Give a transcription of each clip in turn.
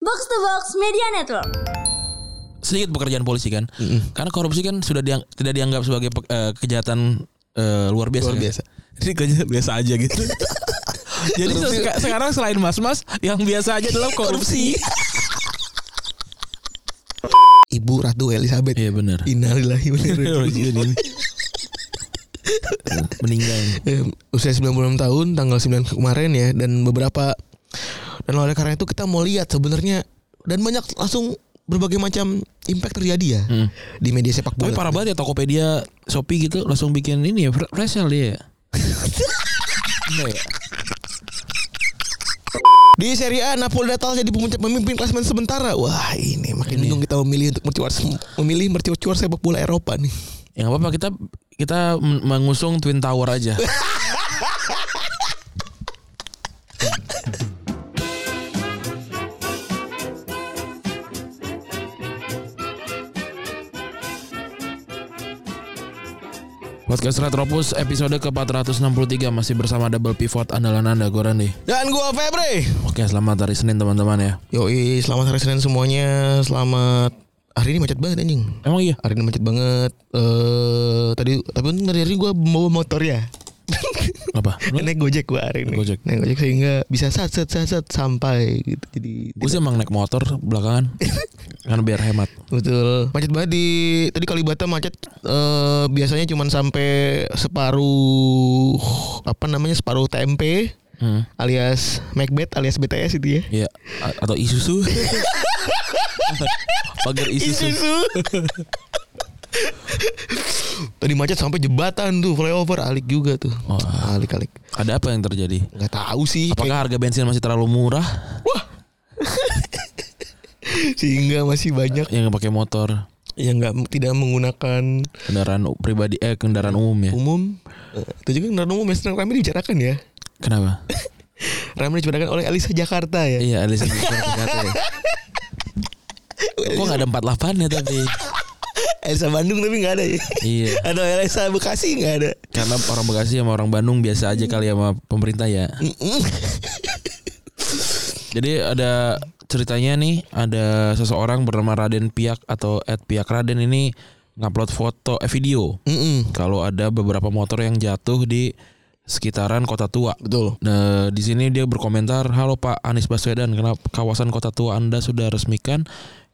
Box to Box Media Network. sedikit pekerjaan polisi kan karena korupsi kan sudah diang- tidak dianggap sebagai pe- eh, kejahatan eh, luar biasa Luar kan? biasa. jadi kerja biasa aja gitu jadi Korupsi. seka- sekarang selain mas-mas yang biasa aja adalah korupsi Ibu Ratu Elizabeth. Iya, benar. Innalillahi wa inna ilaihi raji'un. meninggal Eh, usia 96 tahun tanggal 9 kemarin ya dan beberapa dan oleh karena itu kita mau lihat sebenarnya dan banyak langsung berbagai macam impact terjadi ya di media sepak Hmm. tapi bola. parah banget ya Tokopedia Shopee gitu langsung bikin ini ya fre- fresh sale dia ya Enggak ya? Di Serie A Napoli Natal jadi pemuncak pemimpin klasemen sementara. Wah, ini makin Iya. bingung kita memilih untuk mercuar memilih mercuar sepak bola Eropa nih. Ya nggak apa-apa kita kita men- mengusung Twin Tower aja. Podcast Retropus episode ke-463 masih bersama double pivot andalan Anda Gorandi. Dan gua Febre. Oke, selamat hari Senin teman-teman ya. Yoi, selamat hari Senin semuanya. Selamat hari ini macet banget anjing. Emang iya? Hari ini macet banget. Eh tadi tapi untung dari hari gua bawa motor ya. Apa? Lu- Naik Gojek gua hari ini. Naik Gojek. Naik Gojek sehingga bisa sat sat sat, sat sampai gitu. Jadi Gue sih emang naik motor belakangan. kan biar hemat. betul. Macet banget di tadi Kalibata macet eh biasanya cuman sampai separuh apa namanya separuh TMP Hmm. alias Macbeth alias BTS itu ya. Iya, a- atau Isuzu. Pagar Isuzu. Isuzu. Tadi macet sampai jembatan tuh flyover alik juga tuh. Wah. Alik alik. Ada apa yang terjadi? Gak tahu sih. kayak- Apakah harga bensin masih terlalu murah Sehingga masih banyak yang pakai motor? yang nggak tidak menggunakan Kendaraan u- pribadi eh kendaraan umum ya. umum. Eh, Itu juga kendaraan umum yang sedang ramai dibicarakan ya. Kenapa? Ramai dibicarakan oleh Alisa Jakarta ya. iya, Alisa ya. Kok gak ada 48 ya tapi? Alisa Bandung tapi nggak ada ya. Iya. Atau Alisa Bekasi nggak ada. Karena orang Bekasi sama orang Bandung biasa aja kali sama pemerintah ya. Jadi ada ceritanya nih ada seseorang bernama Raden Piak atau Ed Piak Raden ini ngupload foto eh video Mm-mm. kalau ada beberapa motor yang jatuh di sekitaran kota tua. Betul. Nah, di sini dia berkomentar, "Halo Pak Anies Baswedan, kenapa kawasan kota tua Anda sudah resmikan?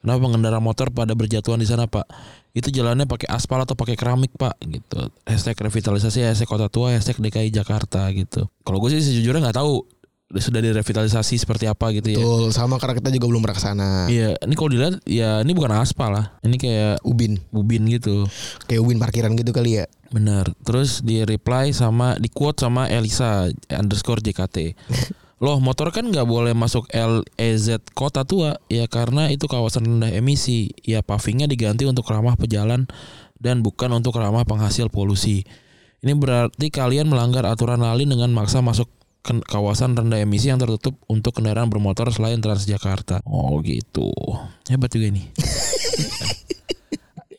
Kenapa pengendara motor pada berjatuhan di sana, Pak? Itu jalannya pakai aspal atau pakai keramik, Pak?" gitu. Hashtag revitalisasi hashtag kota tua hashtag DKI Jakarta gitu. Kalau gue sih sejujurnya nggak tahu sudah direvitalisasi seperti apa gitu ya. Betul. Sama karena kita juga belum pernah kesana. Iya, ini kalau dilihat ya ini bukan aspal lah. Ini kayak Ubin. ubin gitu. Kayak Ubin parkiran gitu kali ya. Benar. Terus di reply sama di quote sama Elisa underscore JKT. Loh motor kan nggak boleh masuk LEZ kota tua ya karena itu kawasan rendah emisi. Ya pavingnya diganti untuk ramah pejalan dan bukan untuk ramah penghasil polusi. Ini berarti kalian melanggar aturan lalin dengan maksa masuk ke kawasan rendah emisi yang tertutup untuk kendaraan bermotor selain Transjakarta. Oh gitu. Hebat juga ini.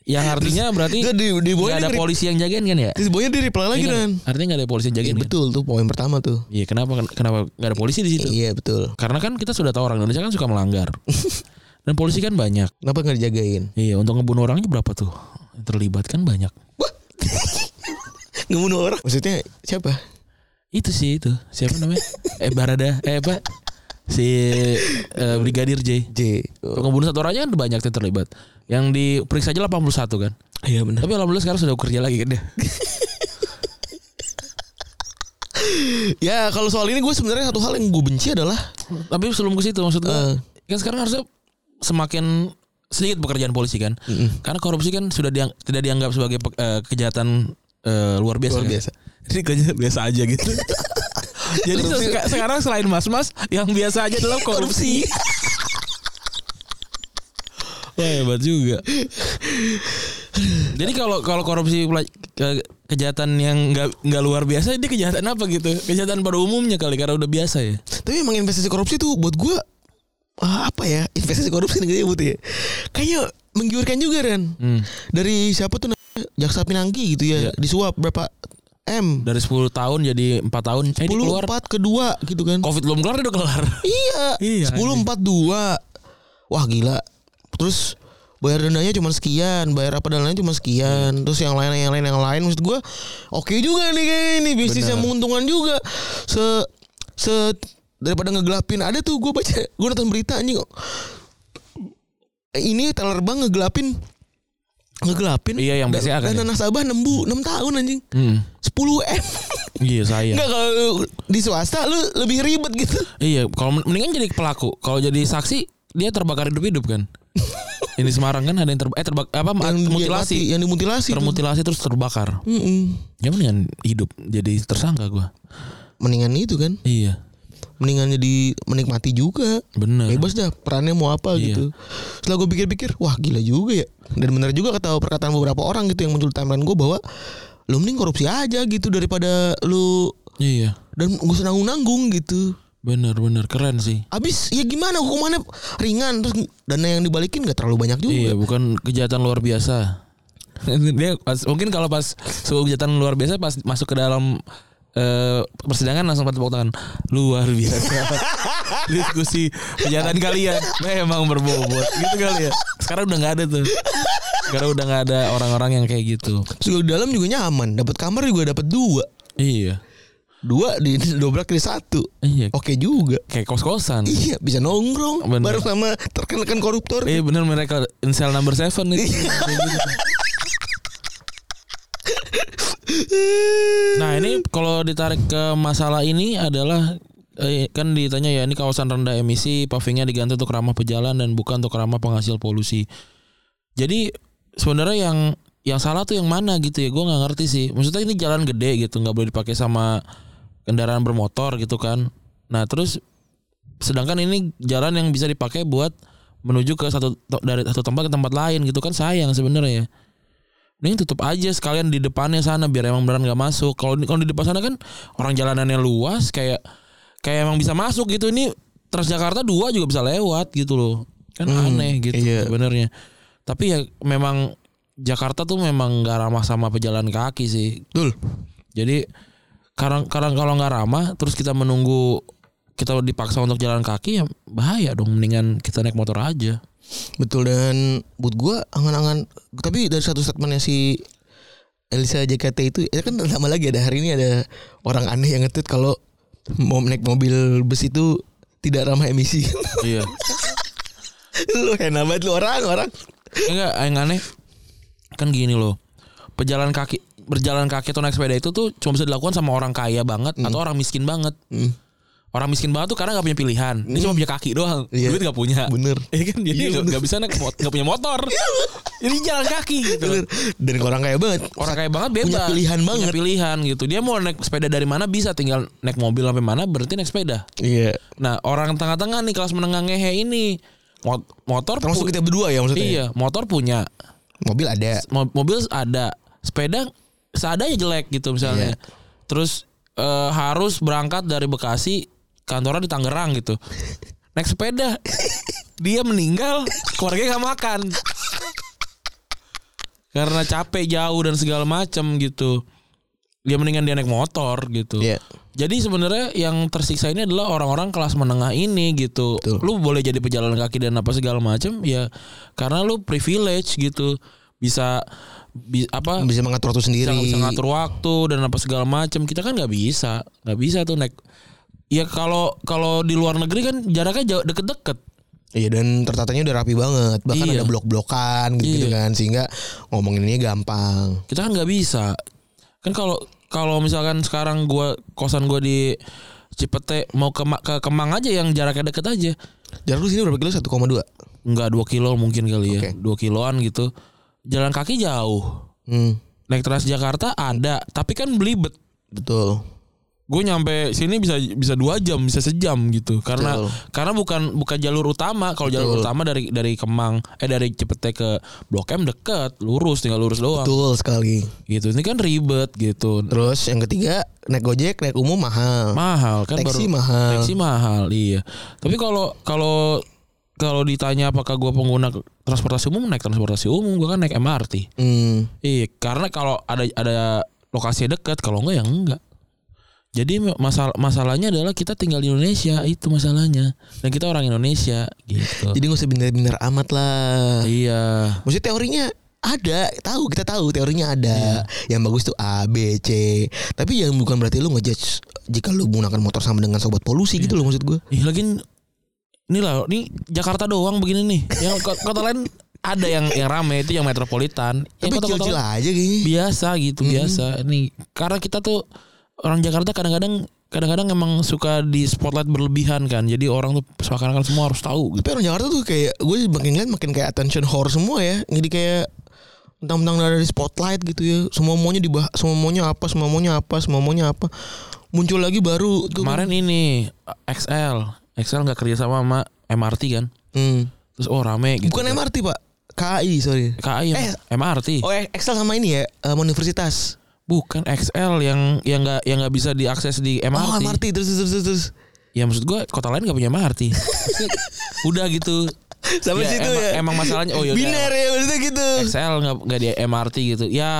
yang artinya berarti Itu di di Gak ada di- polisi yang jagain kan ya? Terus boynya di reply Iya lagi kan? kan. Artinya gak ada polisi yang Iya, jagain kan? betul tuh poin pertama tuh. Iya kenapa kenapa gak ada polisi di situ? Iya betul. Karena kan kita sudah tahu orang Indonesia kan suka melanggar dan polisi kan banyak. Kenapa nggak dijagain? Iya untuk ngebunuh orangnya berapa tuh? Yang terlibat kan banyak. Ngebunuh orang. Maksudnya siapa? Itu sih itu siapa namanya? eh Barada eh apa? Si eh, Brigadir J. J. Untuk ngebunuh satu orangnya kan banyak yang terlibat. Yang diperiksa aja 81 kan. Iya benar. Tapi alhamdulillah sekarang sudah kerja lagi kan dia. Ya kalau soal ini gue sebenarnya satu hal yang gue benci adalah Tapi sebelum ke situ maksud gue, Eh. kan sekarang harusnya semakin sedikit pekerjaan polisi kan, Iya. karena korupsi kan sudah diang- tidak dianggap sebagai pe- eh, kejahatan eh, luar biasa. luar kan? biasa. Jadi kerja biasa aja gitu. Jadi Korupsi. seka- sekarang selain mas-mas yang biasa aja adalah korupsi. Wah hebat juga. Jadi kalau kalau korupsi pela- ke- kejahatan yang nggak nggak luar biasa, ini kejahatan apa gitu? Kejahatan pada umumnya kali karena udah biasa ya. Tapi emang investasi korupsi tuh buat gue ah, apa ya investasi korupsi negara butuh ya. Kayaknya menggiurkan juga kan. Hmm. Dari siapa tuh namanya? jaksa pinangki gitu ya Iya. disuap berapa m? dari 10 tahun jadi 4 tahun eh, ini Puluh keluar empat kedua gitu kan? covid belum kelar dia udah kelar Iya. Iya, Sepuluh anjing. empat dua. wah gila terus bayar dendanya cuma sekian bayar apa dan lain cuma sekian terus yang lain yang lain yang lain maksud gue oke juga nih kayak ini bisnis yang menguntungkan juga se se daripada ngegelapin ada tuh gue baca gue nonton berita anjing Eh, ini teller bank ngegelapin ngegelapin Iya, yang dan- BCA kan ya? dan nasabah 6 bu 6 tahun anjing Hmm. 10 m Iya saya. Enggak kalau lu di swasta lu lebih ribet gitu Iya, kalau mendingan jadi pelaku. Kalau jadi saksi, dia terbakar hidup-hidup kan. Ini Semarang kan ada yang terbakar eh terbak apa dia mati, mutilasi, yang iya. dimutilasi tuh. termutilasi terus terbakar. Mm-mm. Ya mendingan hidup jadi tersangka gua. mendingan itu kan Iya, mendingan jadi menikmati juga bener. bebas dah perannya mau apa Iya. gitu setelah gue pikir-pikir wah gila juga ya dan benar juga kata perkataan beberapa orang gitu yang muncul di timeline gue bahwa lu mending korupsi aja gitu daripada lu Iya, dan gue senang nanggung gitu bener-bener keren sih. abis ya gimana hukumannya ringan terus dana yang dibalikin gak terlalu banyak juga Iya, bukan kejahatan luar biasa. Dia pas, mungkin kalau pas sebuah kejahatan luar biasa pas masuk ke dalam eh, persidangan langsung pada tepuk tangan luar biasa diskusi kejahatan kalian memang berbobot gitu kali ya sekarang udah nggak ada tuh sekarang udah nggak ada orang-orang yang kayak gitu Terus di dalam juga nyaman dapat kamar juga dapat dua iya dua di dobrak di satu iya oke juga kayak kos-kosan iya bisa nongkrong Bener. baru sama terkenakan koruptor iya bener mereka insel number seven itu Nah ini kalau ditarik ke masalah ini adalah eh, kan ditanya ya ini kawasan rendah emisi pavingnya diganti untuk ramah pejalan dan bukan untuk ramah penghasil polusi. Jadi sebenarnya yang yang salah tuh yang mana gitu ya gue nggak ngerti sih. Maksudnya ini jalan gede gitu nggak boleh dipakai sama kendaraan bermotor gitu kan. Nah terus sedangkan ini jalan yang bisa dipakai buat menuju ke satu to- dari satu tempat ke tempat lain gitu kan sayang sebenarnya ya. Ini tutup aja sekalian di depannya sana biar emang beneran nggak masuk. Kalau di- kalau di depan sana kan orang jalanannya luas kayak kayak emang bisa masuk gitu. Ini Transjakarta dua juga bisa lewat gitu loh. Kan aneh gitu iya. sebenarnya. Tapi ya memang Jakarta tuh memang nggak ramah sama pejalan kaki sih. betul Jadi karena karena kalau nggak ramah terus kita menunggu kita dipaksa untuk jalan kaki ya bahaya dong mendingan kita naik motor aja. betul dan buat gua angan-angan tapi dari satu statementnya si Elisa JKT itu ya kan lama lagi ada hari ini ada orang aneh yang ngetweet kalau mau naik mobil bus itu tidak ramah emisi Iya. lu enak banget lu orang orang Enggak yang aneh kan gini loh. Pejalan kaki berjalan kaki atau naik sepeda itu tuh cuma bisa dilakukan sama orang kaya banget atau orang miskin banget. Hmm, Orang miskin banget tuh karena nggak punya pilihan. Dia cuma punya kaki doang. Iya. Duit nggak punya. bener Iya kan jadi Iya, nggak bener. Iya, nggak bisa naik mot- nggak punya motor. Jadi jalan kaki gitu. bener dan orang kaya banget orang kaya banget Punya bebas pilihan Punya banget. pilihan gitu dia mau naik sepeda dari mana bisa tinggal naik mobil sampai mana berarti naik sepeda iya nah orang tengah-tengah nih kelas menengah ngehe ini mot- motor pu- termasuk kita berdua ya maksudnya Oh. iya motor punya mobil ada Mo- mobil ada sepeda seadanya jelek gitu misalnya Iya. terus eh, harus berangkat dari Bekasi kantornya di Tangerang gitu naik sepeda dia meninggal keluarga nggak makan karena capek jauh dan segala macam gitu dia mendingan dia naik motor gitu Iya. jadi sebenarnya yang tersiksa ini adalah orang-orang kelas menengah ini gitu. Betul. Lu boleh jadi pejalan kaki dan apa segala macam ya karena lu privilege gitu. Bisa bi- apa bisa mengatur waktu bisa, sendiri bisa ngatur waktu dan apa segala macam. Kita kan nggak bisa. nggak bisa tuh naik Ya kalau kalau di luar negeri kan jaraknya jauh deket-deket. Iya dan tertatanya udah rapi banget Bahkan Iya. ada blok-blokan gitu, kan Sehingga ngomonginnya gampang kita kan nggak bisa kan kalau kalau misalkan sekarang gua kosan gua di Cipete mau ke, Ma- ke Kemang aja yang jaraknya deket aja Jarak lu sini berapa kilo? 1,2 nggak dua kilo mungkin kali ya Oke. dua kiloan gitu jalan kaki jauh hmm, naik Transjakarta ada tapi kan belibet Betul gue nyampe sini bisa bisa dua jam bisa sejam gitu karena Betul. karena bukan bukan jalur utama kalau jalur Betul. utama dari dari Kemang eh dari Cipete ke Blok M deket lurus tinggal lurus doang Betul sekali gitu ini kan ribet gitu Terus yang ketiga Naik gojek, naik umum mahal mahal kan Taksi baru mahal taksi mahal iya tapi kalau kalau kalau ditanya apakah gue pengguna transportasi umum naik transportasi umum gue kan naik MRT hmm, iya karena kalau ada ada lokasi dekat kalau enggak ya enggak Jadi masalah masalahnya adalah kita tinggal di Indonesia itu masalahnya dan kita orang Indonesia gitu. Jadi gak usah bener-bener amat lah. iya. Maksudnya teorinya ada, tahu kita tahu teorinya ada. Iya. Yang bagus tuh A, B, C. Tapi yang bukan berarti lu ngejudge jika lu menggunakan motor sama dengan sobat polusi Iya. gitu loh maksud gue. Ih, lagi ini lah, ini Jakarta doang begini nih. Yang ko- kota lain ada yang yang rame itu yang metropolitan. Yang Tapi kota-kota kecil-kecil Hmm. aja kayaknya. biasa gitu, biasa. Nih, karena kita tuh orang Jakarta kadang-kadang kadang-kadang emang suka di spotlight berlebihan kan. Jadi orang tuh seakan-akan semua harus tahu gitu. Tapi orang Jakarta tuh kayak gue makin ngeliat makin kayak attention whore semua ya. Jadi kayak mentang-mentang ada di spotlight gitu ya. Semua maunya dibahas, semua maunya apa, semua maunya apa, semua maunya apa. Muncul lagi baru tuh. kan. Kemarin ini XL, XL nggak kerja sama sama MRT kan. Hmm. Terus oh rame gitu. Bukan MRT, Pak. KI, sorry. KI Eh. MRT. Oh, Excel sama ini ya, eh, universitas. Bukan XL yang yang nggak yang nggak bisa diakses di MRT. Oh, MRT terus terus terus. terus. Ya maksud gue kota lain gak punya MRT. Maksudnya, Udah gitu. Sampai Ya, situ emang, ya. emang masalahnya oh yaudah Biner ya maksudnya gitu. XL gak, nggak di MRT gitu. Ya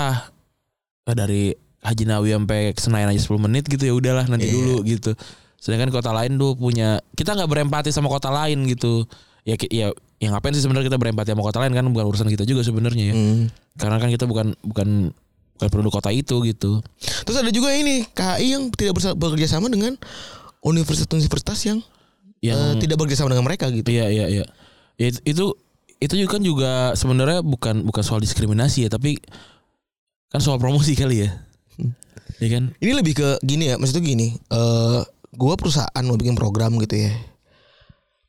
dari Haji Nawawi sampai Senayan aja 10 menit gitu ya udahlah nanti dulu gitu. Sedangkan kota lain tuh punya kita nggak berempati sama kota lain gitu. Ya ki- ya yang ngapain sih sebenarnya kita berempati sama kota lain kan bukan urusan kita juga sebenarnya ya. Hmm. Karena kan kita bukan bukan bukan penduduk kota itu gitu. Terus ada juga ini KI yang tidak bersa- bekerja sama dengan universitas-universitas yang, Yang eh, tidak bekerja sama dengan mereka gitu. Iya iya iya. Ya, it- itu itu juga kan juga sebenarnya bukan bukan soal diskriminasi ya, tapi kan soal promosi kali ya. Iya kan? Ini lebih ke gini ya, maksudnya gini. Eh gua perusahaan mau bikin program gitu ya.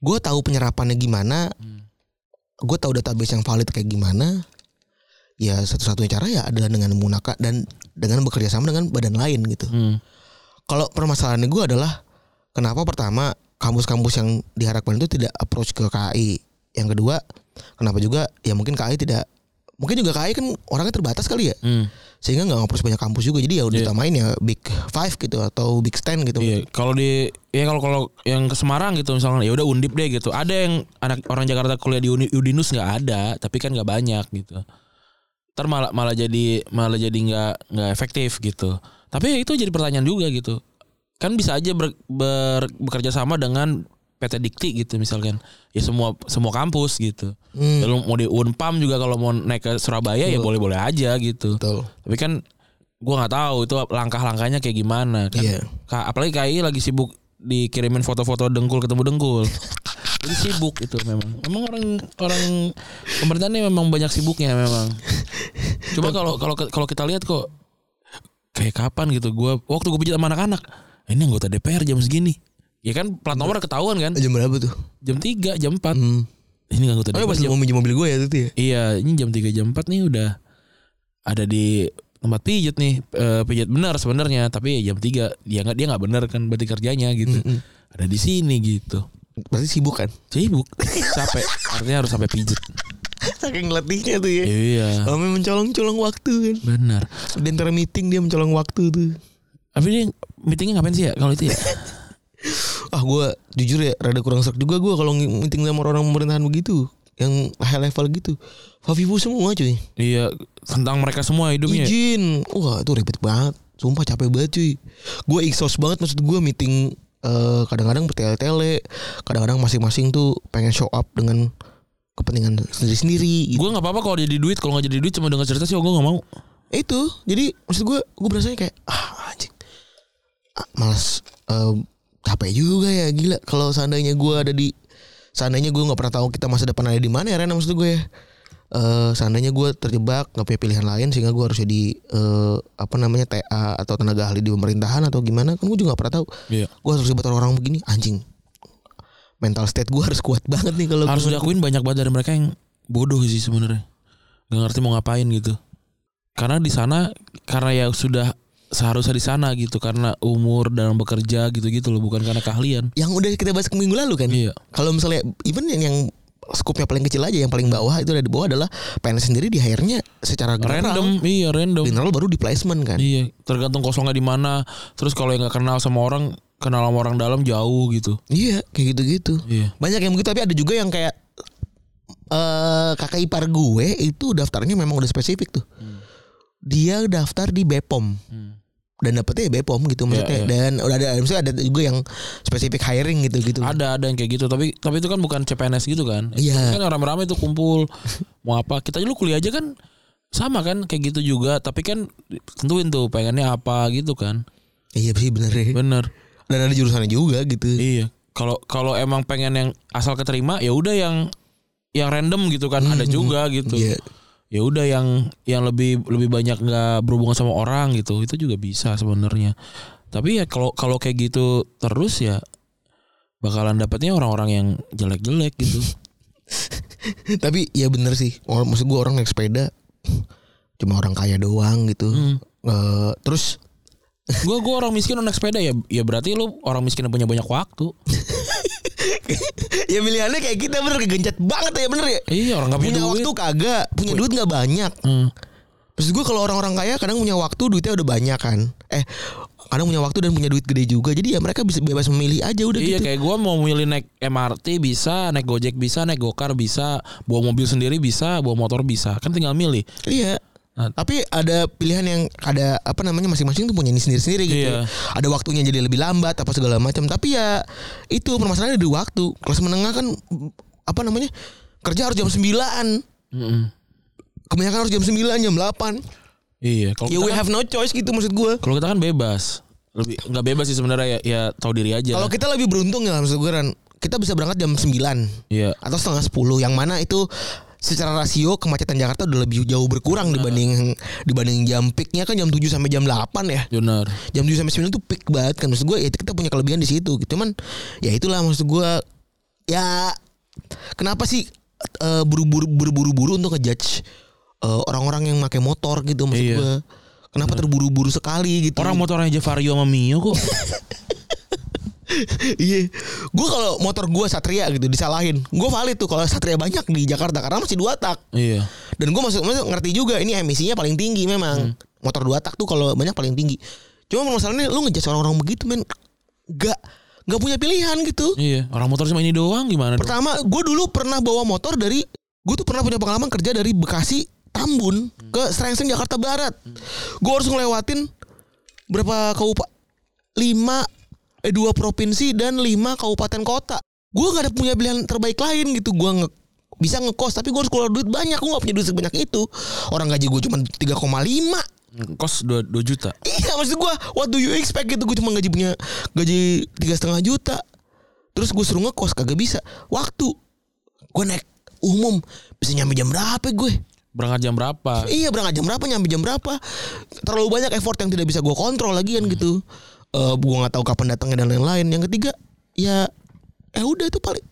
Gua tahu penyerapannya gimana. Gua tahu database yang valid kayak gimana. Ya satu-satunya cara ya adalah dengan menggunakan dan dengan bekerja sama dengan badan lain gitu. Hmm. kalau permasalahan gue adalah kenapa pertama kampus-kampus yang diharapkan itu tidak approach ke KI yang kedua kenapa juga ya mungkin KI tidak mungkin juga KI kan orangnya terbatas kali ya Hmm. sehingga nggak ngapus banyak kampus juga jadi ya udah ditamain ya big five gitu atau big ten gitu Iya, kalau di ya kalau kalau yang ke Semarang gitu misalnya ya udah Undip deh gitu. Ada yang anak orang Jakarta kuliah di Uni- Udinus nggak ada, tapi kan nggak banyak gitu. Ntar malah malah jadi malah jadi nggak nggak efektif gitu. Tapi itu jadi pertanyaan juga gitu. Kan bisa aja ber- ber- bekerja sama dengan PT Dikti gitu misalkan. Ya semua semua kampus gitu. Hmm. Ya lu mau di Unpam juga kalau mau naik ke Surabaya ya boleh-boleh aja gitu. betul Tapi kan gua nggak tahu itu langkah-langkahnya kayak gimana kan. Iya. Ka- apalagi KI lagi sibuk dikirimin foto-foto dengkul ketemu dengkul. Jadi sibuk itu memang. Memang orang orang pemerintah ini memang banyak sibuknya memang. Coba kalau kalau kalau kita lihat kok kayak kapan gitu gua waktu gue pijat sama anak-anak. Ini anggota DPR jam segini. Ya kan plat nomor ketahuan kan jam berapa tuh jam 3 jam 4. hmm. Ini anggota oh, DPR. Kan pas jam- lu mau minjem mobil gue ya itu ya Iya, ini jam 3 jam 4 nih udah ada di tempat pijat nih. Eh pijat benar sebenarnya, tapi ya jam 3 dia nggak dia nggak benar kan berarti kerjanya gitu. Ada di sini gitu. pasti sibuk kan Sibuk, capek. Artinya harus sampai pijat. saking letihnya tuh ya Iya, Kami mencolong-colong waktu kan benar. Di antara meeting dia mencolong waktu tuh Tapi dia meetingnya ngapain sih ya kalau itu ya? ah gue jujur ya rada kurang serak juga gue kalau ngi- meeting sama orang pemerintahan begitu yang high level gitu Favivu semua cuy iya, tentang mereka semua hidupnya. izin wah itu ribet banget sumpah capek banget cuy gue exhaust banget maksud gue meeting eh, kadang-kadang bertele-tele kadang-kadang masing-masing tuh pengen show up dengan kepentingan sendiri-sendiri gitu. Gue nggak apa-apa kalau jadi duit, kalau nggak jadi duit cuma dengar cerita sih, oh, gue nggak mau. itu jadi maksud gue gue berasanya kayak ah anjing ah, malas eh, capek juga ya gila kalau seandainya gue ada di seandainya gue nggak pernah tahu kita masa depan ada di mana ya Ren maksud gue ya Eh, seandainya gue terjebak nggak punya pilihan lain sehingga gue harus jadi eh, apa namanya TA atau tenaga ahli di pemerintahan atau gimana kan gue juga nggak pernah tahu Iya. gue harus debat orang-orang begini anjing mental state gue harus kuat banget nih kalau Harus gua- diakuin banyak banget dari mereka yang bodoh sih sebenarnya. Gak ngerti mau ngapain gitu. Karena di sana karena ya sudah seharusnya di sana gitu karena umur dan bekerja gitu-gitu loh bukan karena keahlian. yang udah kita bahas minggu lalu kan Iya. kalau misalnya even yang yang skupnya paling kecil aja yang paling bawah itu ada di bawah adalah PNS sendiri di hire-nya secara general Random, iya random. general baru di placement kan Iya, tergantung kosongnya di mana. Terus kalau yang nggak kenal sama orang, kenal sama orang dalam jauh gitu. iya kayak gitu-gitu Iya. banyak yang begitu tapi ada juga yang kayak eh kakak ipar gue itu daftarnya memang udah spesifik tuh dia daftar di Bepom dan dapetnya ya Bepom gitu maksudnya iya. dan udah ada misalnya ada juga yang spesifik hiring gitu gitu Ada ada yang kayak gitu tapi tapi itu kan bukan CPNS gitu kan. Iya. Kan orang ramai itu kumpul mau apa. Kita dulu kuliah aja kan sama kan kayak gitu juga tapi kan tentuin tuh pengennya apa gitu kan. iya sih bener ya. Bener. dan ada jurusannya juga gitu Iya. Kalau kalau emang pengen yang asal keterima ya udah yang yang random gitu kan ada juga gitu. Iya. Ya udah yang yang lebih lebih banyak nggak berhubungan sama orang gitu itu juga bisa sebenarnya. Tapi ya kalau kalau kayak gitu terus ya bakalan dapatnya orang-orang yang jelek-jelek gitu. tapi ya bener sih orang maksud gue orang naik sepeda cuma orang kaya doang gitu Hmm. Eh, terus Gua gua orang miskin naik sepeda ya ya berarti lu orang miskin yang punya banyak waktu. ya pilihannya kayak kita bener kegencet banget ya bener ya Iya orang nggak punya, punya duit. waktu kagak punya duit nggak banyak Hmm. Maksud gue kalau orang-orang kaya kadang punya waktu duitnya udah banyak kan. Eh kadang punya waktu dan punya duit gede juga. Jadi ya mereka bisa bebas memilih aja udah Iya gitu. kayak gua mau milih naik MRT bisa, naik Gojek bisa, naik Gokar bisa, bawa mobil sendiri bisa, bawa motor bisa. Kan tinggal milih. Iya. Nah. Tapi ada pilihan yang ada apa namanya masing-masing tuh punya ini sendiri-sendiri gitu. Iya. Ada waktunya jadi lebih lambat apa segala macam. Tapi ya itu permasalahannya di waktu. Kelas menengah kan apa namanya? Kerja harus jam 9. Mm-mm. Kebanyakan harus jam 9, jam 8. Iya, kalau Ya kita, we kan- have no choice gitu maksud gue. kalau kita kan bebas. Lebih nggak bebas sih sebenarnya ya, ya tahu diri aja. Kalau kita lebih beruntung ya maksud gue Ran. Kita bisa berangkat jam 9. Iya. atau setengah sepuluh yang mana itu secara rasio kemacetan Jakarta udah lebih jauh berkurang dibanding dibanding jam peaknya kan jam 7 sampai jam 8 ya Benar. jam 7 sampai 9 itu peak banget kan maksud gue ya kita punya kelebihan di situ gitu cuman ya itulah maksud gue ya kenapa sih eh, buru-buru buru-buru untuk ngejudge eh, orang-orang yang pakai motor gitu maksud Iya. gue kenapa terburu-buru sekali gitu Orang motornya Javario sama Mio kok. Iya. Gue kalau motor gue Satria gitu disalahin. Gue valid tuh kalau Satria banyak di Jakarta karena masih dua tak. iya. Dan gue masuk masuk ngerti juga ini emisinya paling tinggi memang. Motor dua tak tuh kalau banyak paling tinggi. Cuma masalahnya lu ngejudge orang-orang begitu men. Gak gak punya pilihan gitu. Iya, orang motor cuma ini doang gimana? dong? Pertama, gue dulu pernah bawa motor dari gue tuh pernah punya pengalaman kerja dari Bekasi Tambun ke Serengseng Jakarta Barat. Gue harus ngelewatin berapa kabupaten? 5 eh 2 provinsi dan 5 kabupaten kota. Gue gak ada punya pilihan terbaik lain gitu. Gue nge bisa ngekos tapi gue harus keluar duit banyak gue gak punya duit sebanyak itu orang gaji gue cuma 3,5 Kos 2, 2 juta. Iya maksud gue What do you expect gitu Gue cuma gaji punya Gaji tiga setengah juta Terus gue suruh ngekos Kagak bisa Waktu Gue naik umum Bisa nyampe jam berapa gue Berangkat jam berapa? Iya berangkat jam berapa Nyampe jam berapa Terlalu banyak effort Yang tidak bisa gue kontrol lagian gitu Eh Gue gak tahu kapan datangnya dan lain-lain Yang ketiga Ya Eh udah itu paling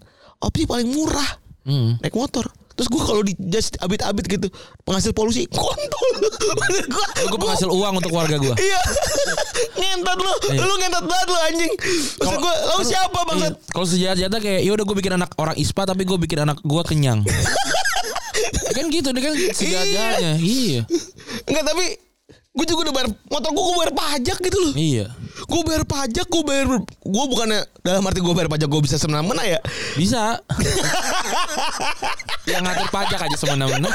Opsi paling murah Hmm. naik motor terus gue kalau di just abit-abit gitu penghasil polusi kontol Gue penghasil uang untuk keluarga gue. Iya. ngentot lu. Lu ngentot banget lu anjing. Maksud gua, lu siapa bangsat? Iya. Kalau sejahat-jahatnya kayak ya udah gue bikin anak orang ISPA tapi gue bikin anak gue kenyang. Ya kan gitu dia kan sejahat-jahatnya. Iya. Enggak tapi gue juga udah bayar motor gue, gue bayar pajak gitu loh. Iya. Gue bayar pajak, gue bayar gue bukannya dalam arti gue bayar pajak gue bisa semena-mena ya. Bisa. Yang ngatur pajak aja semena-mena.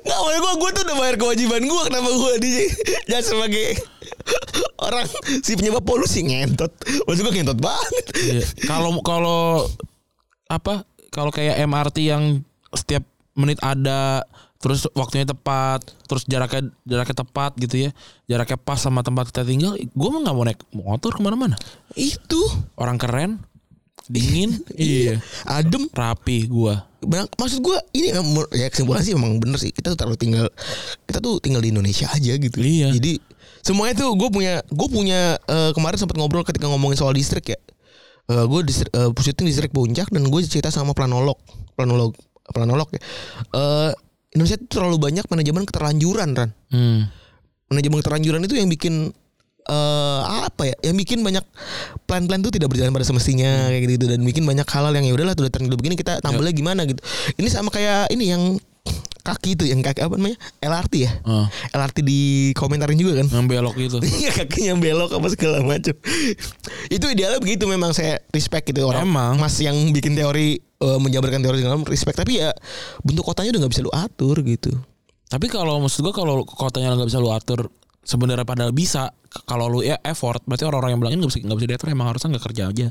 Enggak boleh gue, gue tuh udah bayar kewajiban gue kenapa gue di ya sebagai orang si penyebab polusi ngentot. Maksud gue ngentot banget. Iya. Kalau kalau apa? Kalau kayak MRT yang setiap menit ada terus waktunya tepat, terus jaraknya jaraknya tepat gitu ya. Jaraknya pas sama tempat kita tinggal, gue mah nggak mau naik motor kemana-mana. Itu Orang keren, dingin, iya. adem rapi gua. Benar, maksud gue ini em- menur- ya kesimpulan sih emang bener sih kita tuh terlalu tinggal kita tuh tinggal di Indonesia aja gitu. Iya. Jadi semuanya tuh gue punya gue punya eh, kemarin sempat ngobrol ketika ngomongin soal distrik ya. Eh gue distrik eh, syuting distrik Puncak dan gue cerita sama planolog planolog planolog ya. Eh Indonesia tuh terlalu banyak manajemen keterlanjuran Ran Hmm. manajemen keterlanjuran itu yang bikin eh apa ya yang bikin banyak plan-plan tuh tidak berjalan pada semestinya Hmm. kayak gitu dan bikin banyak halal yang ya udahlah tuh udah terlalu begini kita tambahnya gimana gitu ini sama kayak ini yang kaki itu yang kaki apa namanya LRT ya Ah. LRT di komentarin juga kan Yang belok gitu. Iya kakinya belok apa segala macam. itu idealnya begitu memang saya respect gitu orang. Emang. Mas yang bikin teori eh, menjabarkan teori segala macam respect tapi ya bentuk kotanya udah nggak bisa lu atur gitu. Tapi kalau maksud gua kalau kotanya nggak bisa lu atur sebenarnya padahal bisa k- kalau lu ya effort berarti orang-orang yang bilang ini nggak bisa nggak bisa diatur emang harusnya nggak kerja aja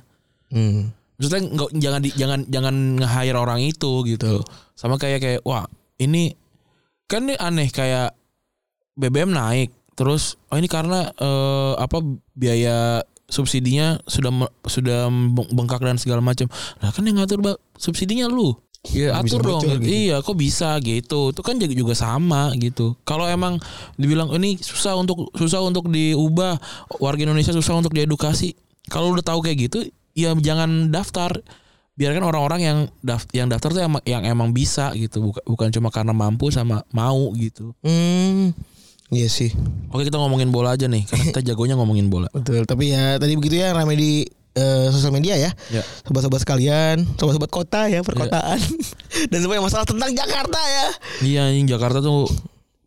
Hmm. maksudnya nggak jangan di, jangan jangan nge-hire orang itu gitu sama kayak kayak wah ini kan ini aneh kayak BBM naik terus oh ini karena eh, apa biaya subsidinya sudah me- sudah bengkak dan segala macam nah kan yang ngatur Bang, subsidinya lu Iya, Ya, atur bisa dong bocor gitu. iya kok bisa gitu itu kan juga juga sama gitu kalau emang dibilang "Oh, ini susah untuk susah untuk diubah warga Indonesia susah untuk diedukasi kalau udah tahu kayak gitu ya jangan daftar biarkan orang-orang yang daft- yang daftar tuh emang yang emang bisa gitu bukan bukan cuma karena mampu sama mau gitu Hmm. Iya sih. oke kita ngomongin bola aja nih karena kita jagonya ngomongin bola Betul. Tapi ya tadi begitu ya ramai di eh, sosial media ya. Ya. Sobat-sobat sekalian, sobat-sobat kota ya, perkotaan. Dan semua yang masalah tentang Jakarta ya. iya anjing, Jakarta tuh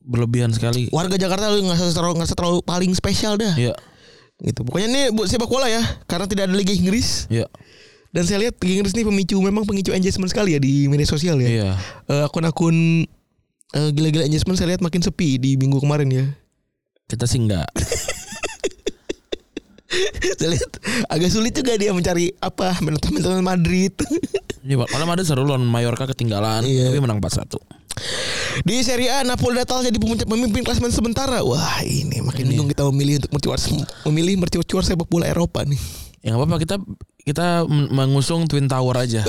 berlebihan sekali Warga Jakarta lu nggak usah terlalu nggak usah terlalu paling spesial dah. iya Gitu. Pokoknya ini buat sepak bola ya, karena tidak ada Liga Inggris. iya Dan saya lihat Liga Inggris ini pemicu memang pemicu engagement sekali ya di media sosial ya. iya Eh, akun-akun eh, gila-gila engagement saya lihat makin sepi di minggu kemarin ya. kita sih nggak saya lihat agak sulit juga dia mencari apa menonton Madrid. Ini Iya, malam ada seru lawan Mallorca ketinggalan Iya. tapi menang 4-1. di Serie A Napoli datang jadi pemuncak pemimpin klasemen sementara. Wah, ini makin bingung kita memilih untuk mercuar memilih mercuar sepak bola Eropa nih. Ya nggak apa-apa kita kita men- mengusung Twin Tower aja.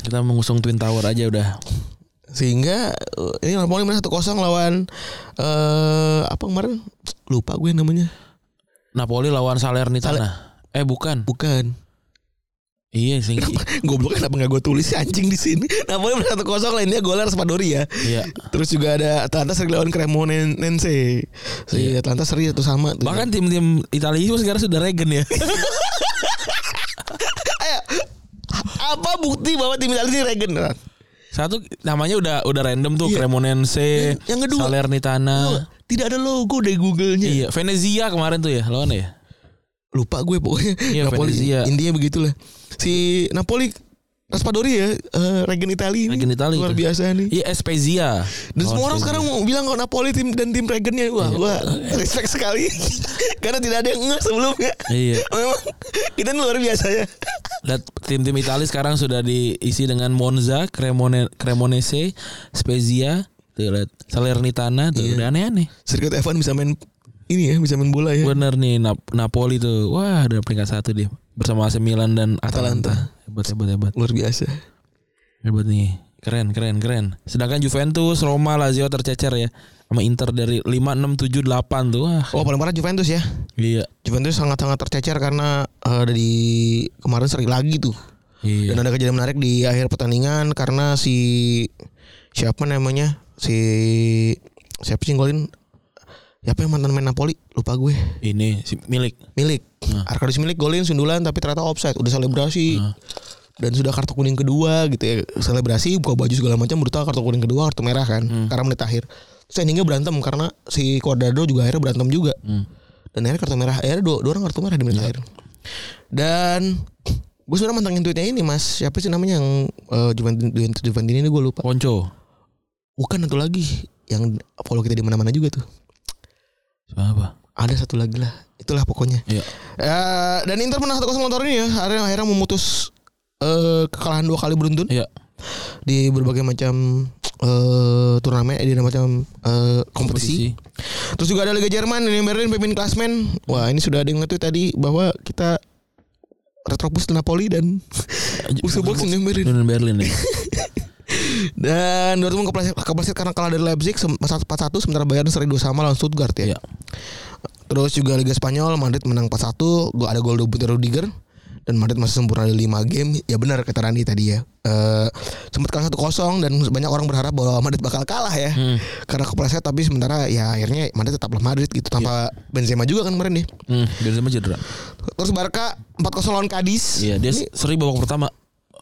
kita mengusung Twin Tower aja udah. Sehingga eh, ini Napoli menang 1-0 lawan eh apa kemarin? Lupa gue namanya. Napoli lawan Salernitana. Eh bukan. Bukan. Iya sih. Goblok kenapa nggak gue tulis sih anjing di sini? Napoli menang 1-0 lainnya golnya Raspadori ya. Iya. Terus juga ada Atlanta seri lawan Cremonense. Si Atlanta seri itu sama. tuh. Bahkan tim-tim Italia itu sekarang sudah regen ya. apa bukti bahwa tim Italia ini regen? Ran? Satu namanya udah udah random tuh Cremonense, Iya. Yang- yang kedua. Iya. Salernitana. Tidak ada logo dari Google-nya. Iya, Venezia kemarin tuh ya lawan ya. Lupa gue pokoknya. Iya, Napoli Venezia. intinya begitulah. Si Napoli Raspadori ya, eh, regen Italia Oh, ini. Regen Italia Luar itu. biasa nih. Iya, Spezia. Dan Lawan semua orang Spezia. sekarang mau bilang kalau Napoli tim dan tim regennya wah, wah respect sekali. Karena tidak ada yang ngeh sebelumnya. Iya. Memang kita ini luar biasa ya. Dan tim-tim Italia sekarang sudah diisi dengan Monza, Cremone, Cremonese, Spezia, tuh lihat Salernitana tuh Iya. udah aneh-aneh. Sirkuit Evan bisa main ini ya, bisa main bola ya. Bener nih Nap- Napoli tuh. Wah, ada peringkat satu dia bersama AC Milan dan Atalanta. Hebat hebat hebat. Luar biasa. Hebat nih. Keren keren keren. Sedangkan Juventus, Roma, Lazio tercecer ya sama Inter dari 5 6 7 8 tuh. Wah, Oh, paling parah Juventus ya. iya. Juventus sangat-sangat tercecer karena eh, dari kemarin seri lagi tuh. Iya. Dan ada kejadian menarik di akhir pertandingan karena si siapa namanya? Si siapa sih yang golin? Siapa yang mantan main Napoli? Lupa gue. Ini si milik. Milik. Arkadius Milik golin sundulan tapi ternyata offside. Udah selebrasi. Dan sudah kartu kuning kedua gitu ya. Selebrasi buka baju segala macam brutal kartu kuning kedua, kartu merah kan. Karena menit akhir. Terus endingnya berantem karena si Cordado juga akhirnya berantem juga. Hmm. Dan akhirnya kartu merah, akhirnya dua, dua orang kartu merah di menit akhir. Dan gue sebenarnya mantengin tweetnya ini mas siapa sih namanya yang eh, Juventus Juventus Juventus ini gue lupa Ponco. bukan satu lagi yang follow kita di mana-mana juga tuh Apa? ada satu lagi lah itulah pokoknya Iya. Eh, dan Inter menang 1-0 lawan Torino ya. Akhirnya akhirnya memutus eh, kekalahan dua kali beruntun Iya. di berbagai macam eh, turnamen, eh, di berbagai macam eh, kompetisi. Kompetisi. Terus juga ada Liga Jerman yang Berlin pemimpin klasmen. Wah, ini sudah ada yang nge-tweet tadi bahwa kita Retropus dan Napoli dan Uso Box yang Berlin. Union Berlin ya. Dan Dortmund kepleset, kepleset karena kalah dari Leipzig sem- 4-1 sementara Bayern seri 2 sama lawan Stuttgart ya. Iya. Terus juga Liga Spanyol Madrid menang 4-1, gua ada gol debut dari Rudiger dan Madrid masih sempurna di 5 game. Ya benar kata Randi tadi ya. Eh sempat kalah 1-0 dan banyak orang berharap bahwa Madrid bakal kalah ya. Hmm. Karena kepleset tapi sementara ya akhirnya Madrid tetaplah Madrid gitu tanpa Benzema juga kan kemarin nih. Hmm, Benzema cedera. Terus Barca 4-0 lawan Cadiz. Iya, dia seri babak pertama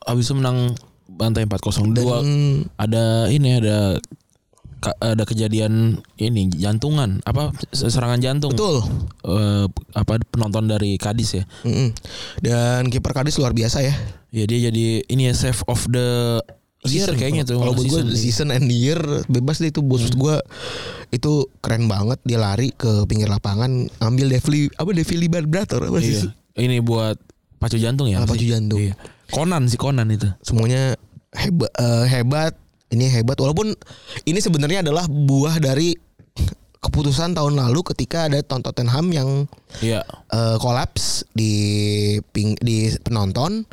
habis itu menang bantai 4-0 dua. Hmm, Ada ini ada ka- ada kejadian ini jantungan apa serangan jantung. Betul. Hmm, Eh, apa penonton dari Kadis ya. Iya, Mm-mm. Dan kiper Cadiz luar biasa ya. Ya dia jadi ini ya save of the year Season. kayaknya tuh. Kalau buat Season. Hmm. gue season and year bebas deh itu bos gue itu keren banget dia lari ke pinggir lapangan ambil Devli apa Devli Vibrator apa sih? Iya. Ini buat pacu jantung ya? Ah, apa pacu sih? jantung. Iya. Conan sih Conan itu. Semuanya hebat hebat ini hebat walaupun ini sebenarnya adalah buah dari keputusan tahun lalu ketika ada Ton- Tottenham yang Iya. eh, kolaps di ping, di penonton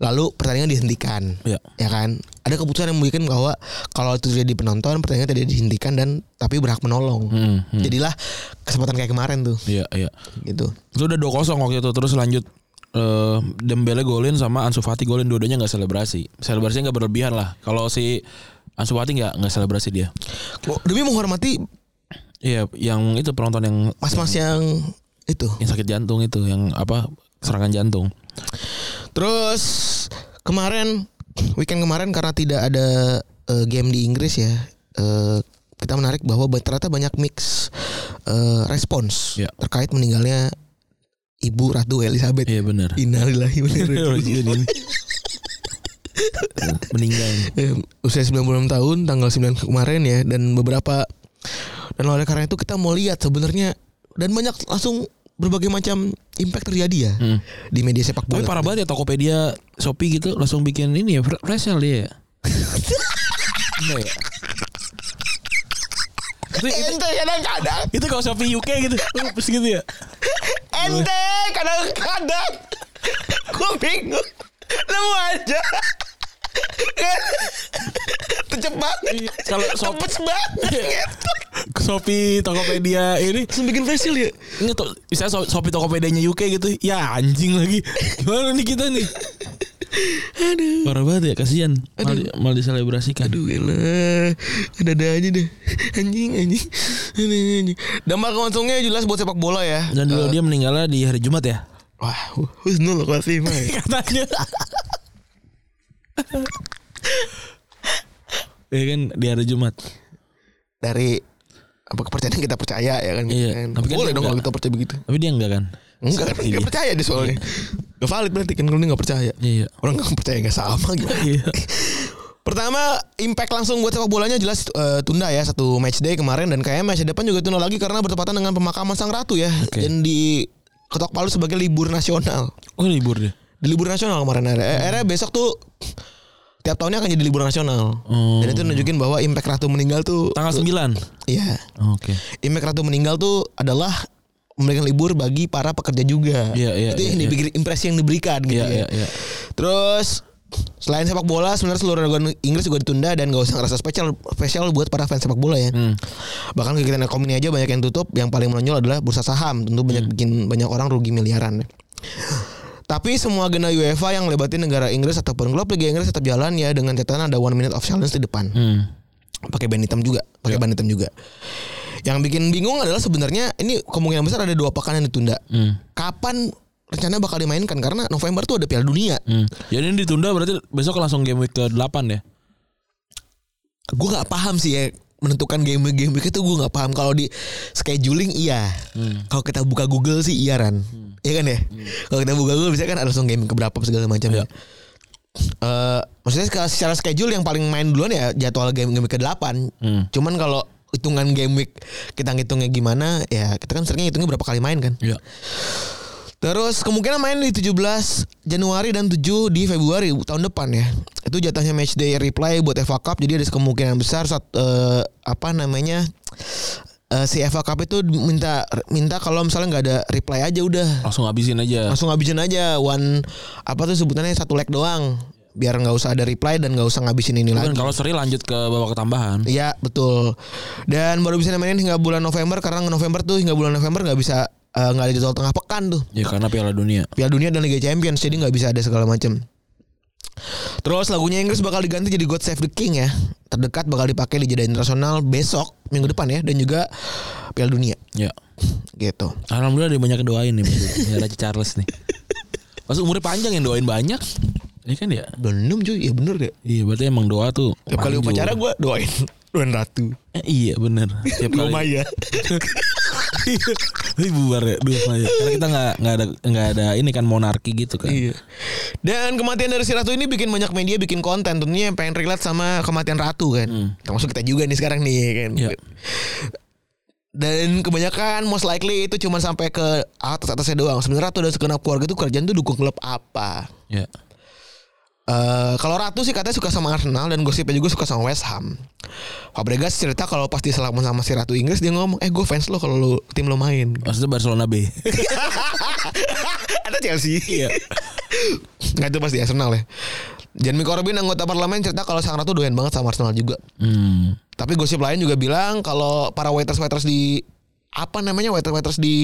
lalu pertandingan dihentikan Iya. ya kan ada keputusan yang memungkinkan bahwa kalau itu terjadi di penonton pertandingan tidak dihentikan dan tapi berhak menolong Hmm, hmm. jadilah kesempatan kayak kemarin tuh Iya, iya. gitu Itu udah 2-0 waktu itu terus lanjut eh, Dembele golin sama Ansu Fati golin dua-duanya nggak selebrasi. Selebrasinya nggak berlebihan lah. Kalau si Ansu Fati nggak nggak selebrasi dia. Bo- demi menghormati Iya, yang itu penonton yang mas-mas yang itu yang sakit jantung itu, yang apa serangan jantung. terus kemarin weekend kemarin karena tidak ada eh, game di Inggris ya eh, kita menarik bahwa ba- ternyata banyak mix eh, respons Iya. terkait meninggalnya ibu ratu Elizabeth Iya benar. Iya, Innalillahi wa inna ilaihi raji'un. Meninggal. Eh, usia 96 tahun tanggal 9 kemarin ya dan beberapa dan oleh karena itu kita mau lihat sebenarnya dan banyak langsung berbagai macam impact terjadi ya Hmm. di media sepak Tapi bola. parah banget ya Tokopedia, Shopee gitu langsung bikin ini ya fre- flash sale dia. ya. Gila ya. Itu, itu, Ente ya, kadang-kadang, itu kalau Shopee UK gitu, terus gitu ya. ente kadang-kadang, gue bingung, nemu aja, cepet banget, Iya, Kalau Shop- cepet banget, gitu. Shopee Tokopedia ini langsung bikin facial ya. ini tuh bisa Shopee Tokopedianya UK gitu. Ya anjing lagi. Gimana nih kita nih? Aduh. Parah banget ya kasihan. Mal, mal diselebrasikan. Aduh elah Ada-ada aja deh Anjing anjing anjing, anjing. Dampak langsungnya jelas buat sepak bola ya Dan dulu dia meninggalnya di hari Jumat ya. Wah Husnul Khotimah ya. Katanya. Iya kan di hari Jumat. Dari apa kepercayaan yang kita percaya ya kan, Iya, kan. tapi kan Boleh dia dong kalau enggak. kita percaya begitu Tapi dia enggak kan? Enggak kan Iya. Enggak percaya dia soalnya Gak valid berarti kan Kalau dia gak percaya Iya. Orang gak percaya gak sama gitu Iya. Pertama impact langsung buat sepak bolanya jelas eh, tunda ya satu match day kemarin dan kayaknya match depan juga tunda lagi karena bertepatan dengan pemakaman sang ratu ya Oke. dan di ketok palu sebagai libur nasional. Oh libur dia. di libur nasional kemarin akhirnya. Eh, akhirnya besok tuh tiap tahunnya akan jadi libur nasional. Hmm. Dan itu nunjukin bahwa impact ratu meninggal tuh Tanggal 9. Iya. Oke. Impact ratu meninggal tuh adalah memberikan libur bagi para pekerja juga. Iya, iya, itu iya, yang iya. dibikir- impresi yang diberikan gitu Iya iya ya. iya. Terus selain sepak bola sebenarnya seluruh negara Inggris juga ditunda dan gak usah ngerasa spesial spesial buat para fans sepak bola ya. Hmm. Bahkan kegiatan ekonomi aja banyak yang tutup, yang paling menonjol adalah bursa saham. Tentu Hmm. banyak bikin banyak orang rugi miliaran. ya. Tapi semua agenda UEFA yang lebatin negara Inggris ataupun klub Liga Inggris tetap jalan ya dengan catatan ada one minute of silence di depan. Hmm. Ya. Pakai band hitam juga, pakai band hitam juga. Yang bikin bingung adalah sebenarnya ini kemungkinan besar ada dua pekan yang ditunda. Hmm. Kapan rencana bakal dimainkan karena November tuh ada Piala Dunia. Hmm. Jadi ini ditunda berarti besok langsung game week ke-8 ya. gue nggak paham sih ya menentukan game game week itu gue nggak paham kalau di scheduling iya kalau kita buka Google sih iya ran iya kan ya kalau kita buka Google bisa kan ada langsung game keberapa segala macam ya Eh, maksudnya secara- secara schedule yang paling main duluan ya jadwal game game ke 8 Hmm. cuman kalau hitungan game week kita ngitungnya gimana ya kita kan seringnya hitungnya berapa kali main kan Iya. Terus kemungkinan main di 17 Januari dan 7 di Februari tahun depan ya. Itu jatahnya match day replay buat FA Cup jadi ada kemungkinan besar saat, eh, apa namanya eh, si FA Cup itu minta minta kalau misalnya nggak ada replay aja udah Langsung habisin aja. langsung ngabisin aja one apa tuh sebutannya satu leg doang biar nggak usah ada replay dan nggak usah ngabisin ini Bukan lagi. Kan kalau seri lanjut ke babak tambahan. Iya betul. Dan baru bisa mainin hingga bulan November karena November tuh hingga bulan November nggak bisa eh, nggak ada jadwal tengah pekan tuh. Ya karena Piala Dunia. Piala Dunia dan Liga Champions jadi nggak bisa ada segala macam. Terus lagunya Inggris bakal diganti jadi God Save the King ya. Terdekat bakal dipakai di jeda internasional besok minggu depan ya dan juga Piala Dunia Ya. gitu. Alhamdulillah ada banyak yang doain nih berarti. Ya, Raja Charles nih. Pas umurnya panjang yang doain banyak. Iya kan ya? Belum cuy, ya bener deh. Iya berarti emang doa tuh. Tiap kali manjur. upacara gue doain doain ratu, ya. Eh, iya bener. Tiap dua kali Maya. Ini bubar ya dua Maya. Karena kita nggak nggak ada nggak ada ini kan monarki gitu kan. Iya. Dan kematian dari si ratu ini bikin banyak media bikin konten tentunya yang pengen relate sama kematian ratu kan. Termasuk kita juga nih sekarang nih kan. Iya. Dan kebanyakan most likely itu cuma sampai ke atas-atasnya doang. Sebenarnya ratu dan segenap keluarga itu kerjaan tuh dukung klub apa. Ya. Eh, kalau Ratu sih katanya suka sama Arsenal dan gosipnya juga suka sama West Ham. Fabregas cerita kalau pas diselamun sama si Ratu Inggris dia ngomong, "Eh, gue fans lo kalau lu- tim lo main." Maksudnya Barcelona B. Ada Chelsea. Iya. Nggak itu pasti Arsenal ya. Jeremy Corbyn anggota parlemen cerita kalau sang ratu doyan banget sama Arsenal juga. hmm. Tapi gosip lain juga bilang kalau para waiters waiters di apa namanya waiters waiters di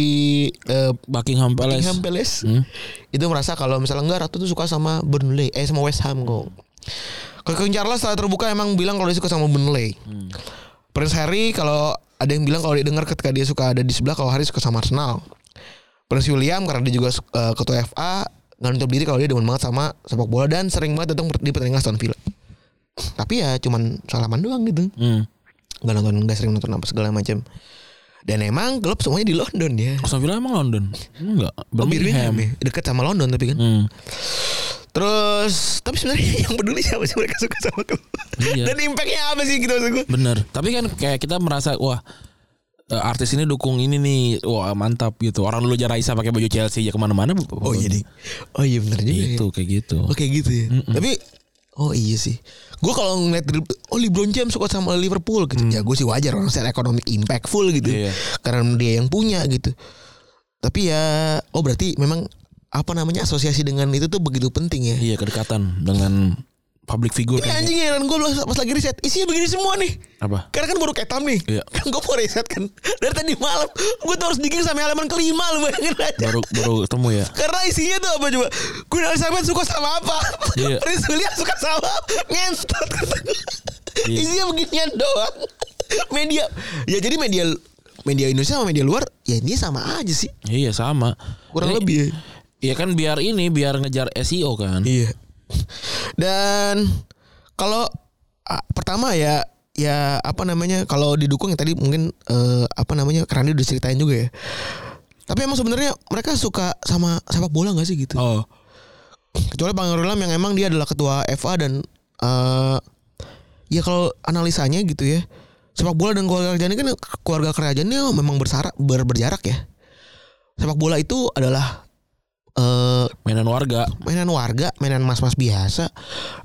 eh, Buckingham Palace. Buckingham Palace itu merasa kalau misalnya enggak Ratu tuh suka sama Burnley eh sama West Ham kok. King Charles setelah terbuka emang bilang kalau dia suka sama Burnley. Prince Harry kalau ada yang bilang kalau dia dengar ketika dia suka ada di sebelah kalau Harry suka sama Arsenal. Prince William karena dia juga eh, ketua FA nggak nutup diri kalau dia demen banget sama sepak bola dan sering banget datang di pertandingan Aston Villa. Tapi ya cuman salaman doang gitu. Hmm. Nggak nonton nggak sering nonton apa segala macam. Dan emang klub semuanya di London ya. Aston Villa emang London? Enggak. Birmingham Birmingham. ya. Dekat sama London tapi kan. Hmm. Terus tapi sebenarnya yang peduli siapa sih mereka suka sama klub. Iya. Dan impactnya apa sih gitu maksud gue? Bener. Tapi kan kayak kita merasa wah eh, artis ini dukung ini nih wah mantap gitu orang dulu Raisa pakai baju Chelsea ya kemana-mana Oh iya nih. Oh iya bener juga. ya. itu kayak gitu Oke gitu ya. Tapi oh iya sih. Gue kalau ngeliat oh LeBron James suka sama Liverpool gitu. Ya gue sih wajar orang secara economic impactful gitu. Mm. Iya. Karena dia yang punya gitu. Tapi ya oh berarti memang apa namanya asosiasi dengan itu tuh begitu penting ya. iya kedekatan dengan public figure Ini kayaknya. anjing heran gue pas lagi riset isinya begini semua nih. apa Karena kan baru ketam nih. Iya. Kan gue mau riset kan. Dari tadi malam gue tuh harus digging sampai halaman kelima lu bayangin aja. baru baru ketemu ya Karena isinya tuh apa coba? Queen Elizabeth suka sama apa? Iya. Prince William suka sama apa? Ngentot. Iya. Isinya beginian doang. Media. Ya jadi media media Indonesia sama media luar ya ini sama aja sih. iya sama Kurang Jadi- lebih. Iya kan biar ini biar ngejar SEO kan Iya. Dan kalau ah, pertama ya ya apa namanya kalau didukung yang tadi mungkin eh, apa namanya karena dia udah ceritain juga ya. Tapi emang sebenarnya mereka suka sama sepak bola nggak sih gitu? oh Kecuali Pangeran yang emang dia adalah ketua FA dan eh ya kalau analisanya gitu ya sepak bola dan keluarga kerajaan ini kan keluarga kerajaan ini memang bersara, ber- berjarak ya. Sepak bola itu adalah eh mainan warga mainan warga, mainan mas-mas biasa,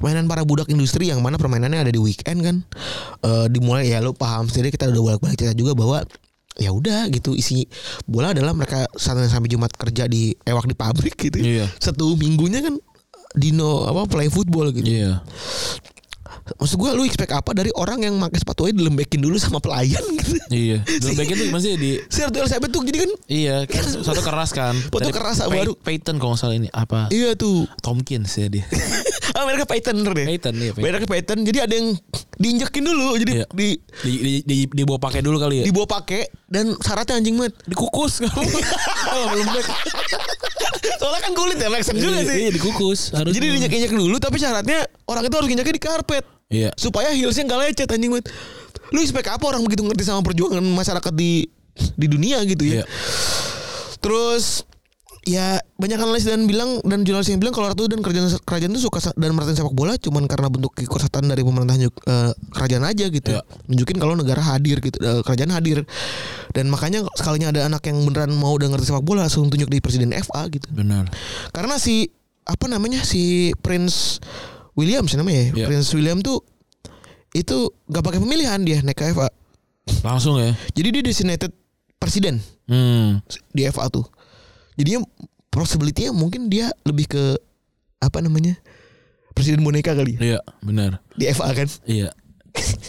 mainan para budak industri yang mana permainannya ada di weekend kan. Eh dimulai ya lu paham sendiri kita udah bolak-balik cerita juga bahwa ya udah gitu isi bola adalah mereka Senin sampai Jumat kerja di ewak di pabrik gitu. Iya. Satu minggunya kan dino apa play football gitu. iya Maksud gua lu expect apa dari orang yang pakai sepatunya dilembekin dulu sama pelayan gitu. iya dulu back itu masih di Si Ratu Elizabeth tuh jadi kan iya kan satu keras kan Foto keras baru. Payton kalau nggak salah ini apa iya tuh. Tomkins ya dia Ah, mereka Python deh. Payton iya Payton. Mereka Python jadi ada yang diinjekin dulu jadi Iya. di di, di, di, dibawa pakai dulu kali ya dibawa pakai dan syaratnya anjing banget dikukus kamu oh, belum back soalnya kan kulit ya Maxon juga Iya, iya sih dikukus harus jadi diinjak injak dulu tapi syaratnya orang itu harus injaknya di karpet iya supaya heelsnya nggak lecet anjing banget lu expect apa orang begitu ngerti sama perjuangan masyarakat di di dunia gitu ya iya terus ya banyak analis dan bilang dan jurnalis yang bilang kalau ratu dan kerajaan kerajaan itu suka sa- dan merhatiin sepak bola cuman karena bentuk kekuasaan dari pemerintah ju- eh, kerajaan aja gitu Iya. nunjukin kalau negara hadir gitu eh, kerajaan hadir dan makanya sekalinya ada anak yang beneran mau udah ngerti sepak bola langsung tunjuk di presiden FA gitu benar karena si apa namanya si Prince William sih namanya ya Iya. Prince William tuh itu gak pakai pemilihan dia naik ke FA langsung ya jadi dia designated presiden hmm di FA tuh. Jadinya possibility-nya mungkin dia lebih ke apa namanya? Presiden boneka kali ya, iya benar di FA kan. iya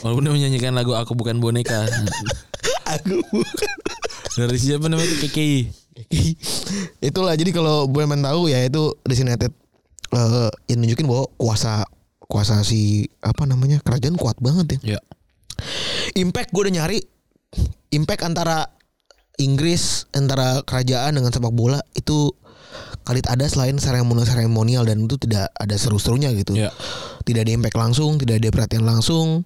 walaupun dia menyanyikan lagu aku bukan boneka Aku bukan. dari siapa namanya itu KKI Itulah jadi kalau Boeman tahu ya itu designated eh yang nunjukin bahwa kuasa kuasa si apa namanya kerajaan kuat banget ya. iya Impact gue udah nyari impact antara Inggris antara kerajaan dengan sepak bola itu kali ada selain seremonial seremonial dan itu tidak ada seru-serunya gitu. iya tidak ada impact langsung, tidak ada perhatian langsung.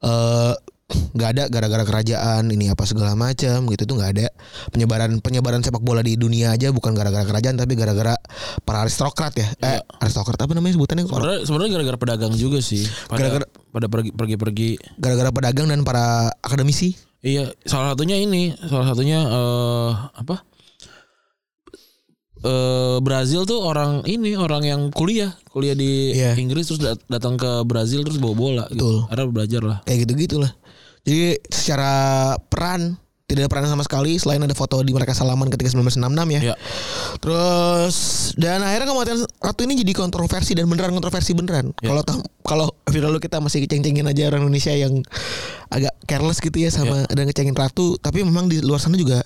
Eh nggak ada gara-gara kerajaan ini apa segala macam gitu itu nggak ada penyebaran penyebaran sepak bola di dunia aja bukan gara-gara kerajaan tapi gara-gara para aristokrat ya eh aristokrat apa namanya sebutannya Orang- Sebenarnya sebenarnya gara-gara pedagang juga sih. Pada, Gara-gara- pada pergi- pergi-pergi. gara-gara pedagang dan para akademisi Iya, salah satunya ini, salah satunya eh apa? Eh Brazil tuh orang ini orang yang kuliah, kuliah di Iya. Inggris terus dat- datang ke Brazil terus bawa bola gitu. Betul. Karena belajar lah. kayak gitu gitulah jadi secara peran tidak ada peran sama sekali selain ada foto di mereka salaman ketika 1966 ya Iya. Terus dan akhirnya kematian ratu ini jadi kontroversi dan beneran kontroversi beneran. Ya. Kalau tam- kalau video lalu kita masih ceng-cengin aja orang Indonesia yang agak careless gitu ya sama dan ngecengin ratu, tapi memang di luar sana juga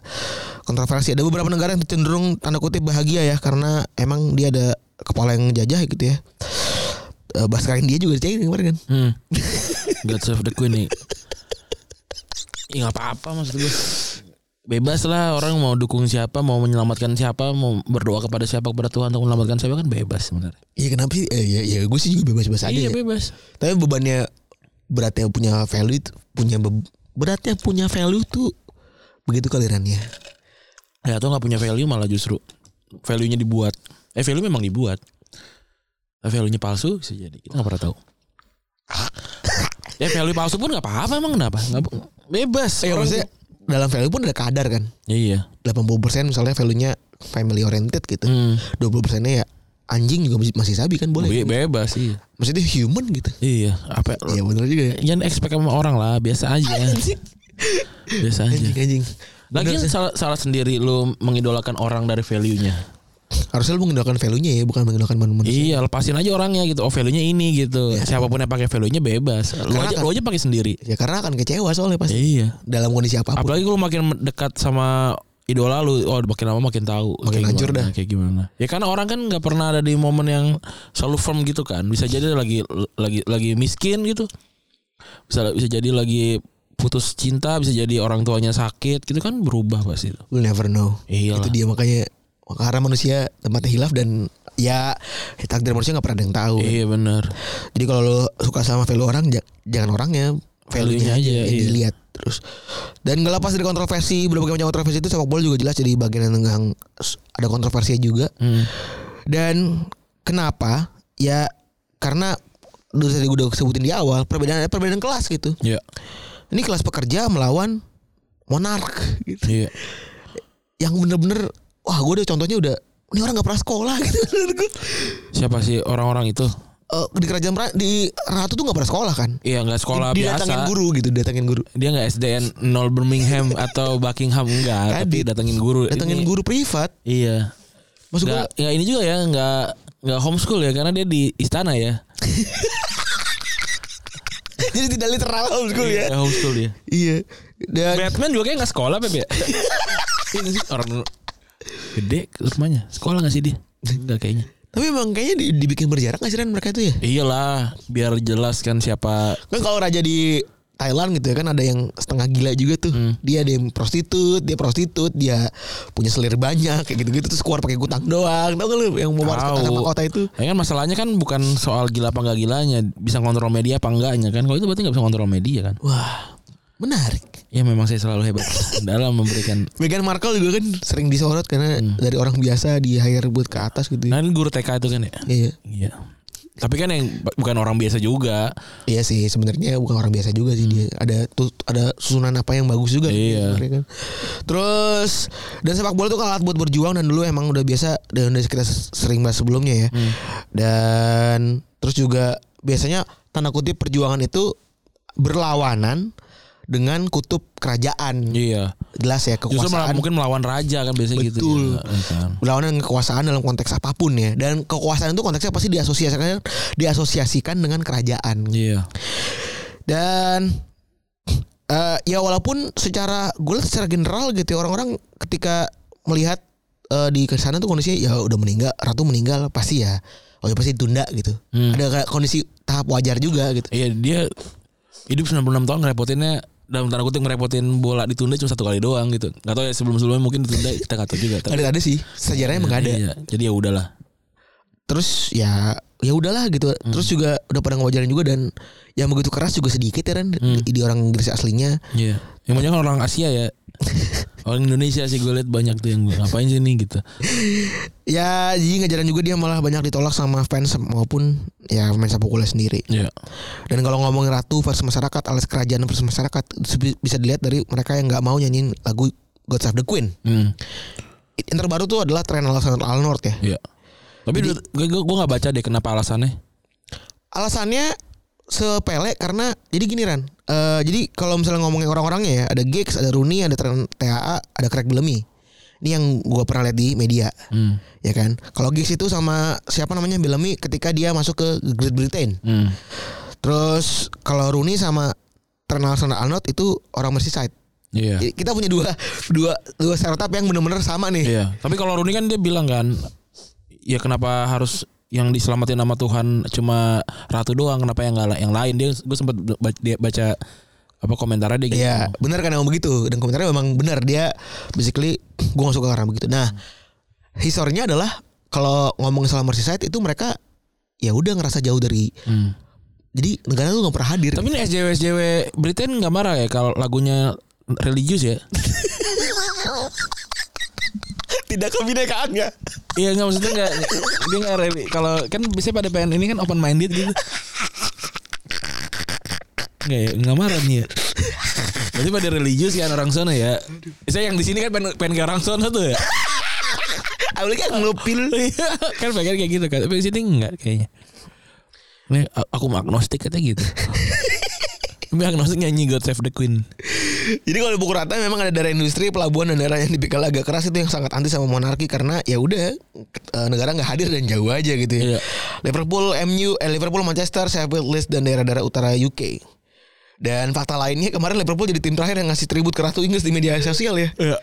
kontroversi. Ada beberapa negara yang cenderung tanda kutip bahagia ya karena emang dia ada kepala yang jajah gitu ya. Eh, Baskar India juga dicengin kemarin kan. Hmm. God save the queen nih. Ya nggak apa-apa maksud gue. Bebas lah orang mau dukung siapa, mau menyelamatkan siapa, mau berdoa kepada siapa kepada Tuhan untuk menyelamatkan siapa kan bebas sebenarnya. Iya kenapa sih? Eh, ya, ya gue sih juga bebas-bebas aja. Iya ya. bebas. Tapi bebannya beratnya punya value itu- punya be- beratnya punya value tuh begitu kalirannya. Ya atau nggak punya value malah justru value-nya dibuat. Eh value memang dibuat. Tapi value-nya palsu bisa jadi kita nggak pernah tahu. ya value palsu pun nggak apa-apa emang kenapa? Nggak bebas. Ya orang- maksudnya dalam value pun ada kadar kan. Iya. 80% misalnya value-nya family oriented gitu. Hmm. 20%-nya ya anjing juga masih, masih sabi kan boleh. Be- bebas iya. Maksudnya human gitu. Iya. Apa? Iya benar juga ya. Jangan expect sama orang lah biasa aja. biasa Anjing aja. anjing. Lagi kan Bener sih. salah, salah sendiri lu mengidolakan orang dari value-nya. harusnya lu menggunakan value-nya ya, bukan menggunakan manusia. Iya, lepasin aja orangnya gitu. Oh, value-nya ini gitu. Siapapun yang pakai value-nya bebas. Lu Karena aja kan- lu aja pakai sendiri. Ya karena akan kecewa soalnya pasti Iya. dalam kondisi apapun. Apalagi kalau makin dekat sama idola lu, oh makin lama makin tahu Makin kayak hancur gimana, dah. kayak gimana. Ya karena orang kan nggak pernah ada di momen yang selalu firm gitu kan. Bisa Iya. jadi lagi lagi lagi miskin gitu. Bisa bisa jadi lagi putus cinta, bisa jadi orang tuanya sakit gitu kan berubah pasti itu. We'll never know. Iyalah. Itu dia makanya karena manusia tempatnya hilaf dan ya takdir manusia nggak pernah ada yang tahu. Iya benar. Jadi kalau lo suka sama value orang ja- jangan orangnya, Value-nya value-nya aja aja, yang iya. dilihat terus. Dan nggak lepas dari kontroversi, berbagai macam kontroversi itu sepak bola juga jelas jadi bagian yang yang s- ada kontroversinya juga. Hmm. Dan kenapa? Ya karena udah tadi gue udah sebutin di awal perbedaan ada perbedaan kelas gitu. Iya. Ini kelas pekerja melawan monark gitu Iya. yang bener-bener wah gue udah contohnya udah ini orang nggak pernah sekolah gitu Menurut gua, Siapa sih orang-orang itu? eh, di kerajaan Pra- di ratu tuh nggak pernah sekolah kan Iya nggak sekolah didatangin biasa. guru gitu datangin guru Dia nggak SDN 0 Birmingham atau Buckingham enggak, tapi Tadi. datengin guru. datangin Ini- guru privat Iya. maksud gue Nggak, nggak ini juga ya nggak nggak homeschool ya karena dia di istana ya. jadi tidak literal homeschool ya Nggak homeschool dia. iya dan Batman juga kayak nggak sekolah Beb ya. Iya nggak sih? Orang gede rumahnya sekolah nggak sih dia? Enggak kayaknya. tapi emang kayaknya di- dibikin berjarak nggak sih Ran, mereka itu ya Iyalah biar jelas kan siapa. kan kalau raja di Thailand gitu ya kan ada yang setengah gila juga tuh Hmm. dia ada yang prostitut dia prostitut dia punya selir banyak kayak gitu-gitu terus keluar pakai kutang doang tau gak lu yang mau masuk Tahu. kota sama kota itu Ya kan masalahnya kan bukan soal gila apa nggak gilanya, bisa kontrol media apa enggaknya kan. Kalau itu berarti nggak bisa kontrol media kan. wah menarik Ya memang saya selalu hebat dalam memberikan. Meghan Markle juga kan sering disorot karena dari orang biasa di hire buat ke atas gitu. Hmm. ya. Nah ini guru TK itu kan ya. Iya, Iya. Tapi kan yang bukan orang biasa juga. iya sih sebenarnya bukan orang biasa juga sih dia. Ada tu- ada susunan apa yang bagus juga. Hmm. Iya. sebenarnya kan. Terus dan sepak bola tuh alat buat berjuang dan dulu emang udah biasa dan udah kita sering bahas sebelumnya ya. Hmm. Dan terus juga biasanya tanda kutip perjuangan itu berlawanan dengan kutub kerajaan. Iya. Jelas ya Justru malah kekuasaan. mungkin melawan raja kan biasanya gitu. ya. Betul. Iya kan. berlawanan dengan kekuasaan dalam konteks apapun ya dan kekuasaan itu konteksnya pasti diasosiasikan diasosiasikan dengan kerajaan gitu. Iya. dan eh, ya walaupun secara gue lihat secara general gitu ya, orang-orang ketika melihat eh, di sana tuh kondisinya ya udah meninggal ratu meninggal pasti ya oh ya pasti ditunda gitu Hmm. ada kayak kondisi tahap wajar juga gitu Iya dia hidup 96 tahun ngerepotinnya dalam tanda kutip ngerepotin bola ditunda cuma satu kali doang gitu. Gak tau ya sebelum sebelumnya mungkin ditunda kita gak tau juga. Tapi- ada ada sih sejarahnya emang ada Iya, Jadi ya udahlah. terus ya ya udahlah gitu terus juga udah pada ngawajarin juga dan yang begitu keras juga sedikit ya kan di orang Inggris aslinya Iya. Yang banyak kan orang Asia ya. orang Indonesia sih gue liat banyak tuh yang gue ngapain sih nih gitu. ya jadi ngajaran juga dia malah banyak ditolak sama fans maupun ya main sepak bola sendiri Iya. dan kalau ngomongin ratu versus masyarakat alas kerajaan versus masyarakat se- bisa dilihat dari mereka yang nggak mau nyanyiin lagu God Save the Queen Hmm. yang terbaru tuh adalah tren alasan Al Nord ya Iya. Tapi gue gue gak baca deh kenapa alasannya. alasannya sepele karena jadi gini Ran Eh, jadi kalau misalnya ngomongin orang-orangnya ya ada Gigs ada Rooney ada Trent TAA ada Craig Bellamy ini yang gua pernah lihat di media Hmm. ya kan kalau Gigs itu sama siapa namanya Bellamy ketika dia masuk ke Great Britain Hmm. terus kalau Rooney sama Trent Alexander-Arnold itu orang Merseyside Iya. Jadi kita punya dua dua dua startup yang benar-benar sama nih Iya. Tapi kalau Rooney kan dia bilang kan, ya kenapa harus yang diselamatin nama Tuhan cuma ratu doang? Kenapa yang nggak yang lain? Dia gue sempat baca, dia baca apa komentarnya dia gitu. Iya, benar kan emang begitu. Dan komentarnya memang benar dia basically gue gak suka karena begitu. Nah, historinya adalah kalau ngomongin soal Merseyside itu mereka ya udah ngerasa jauh dari Hmm. jadi negara tuh gak pernah hadir. Tapi ini SJW SJW Britain nggak marah ya kalau lagunya religius ya? tidak kebinekaan ya. Iya nggak maksudnya nggak dia nggak reli kalau kan biasanya pada pengen ini kan open minded gitu. Nggak ya, nggak marah nih ya. Berarti pada religius kan orang sana ya. Saya yang di sini kan pengen, pengen ke orang sana tuh ya. Awalnya kan ngelupil. Iya, kan pengen kayak gitu kan. Tapi di sini enggak kayaknya. Nih a- aku mah agnostik katanya gitu. Tapi agnostik nyanyi God Save the Queen. Jadi kalau di buku rata memang ada daerah industri, pelabuhan dan daerah yang dipikir agak keras itu yang sangat anti sama monarki karena ya udah eh, negara nggak hadir dan jauh aja gitu ya. Iya. Liverpool, MU, eh, Liverpool, Manchester, Sheffield, Leeds dan daerah-daerah utara UK. Dan fakta lainnya kemarin Liverpool jadi tim terakhir yang ngasih tribut ke Ratu Inggris di media sosial ya. Iya.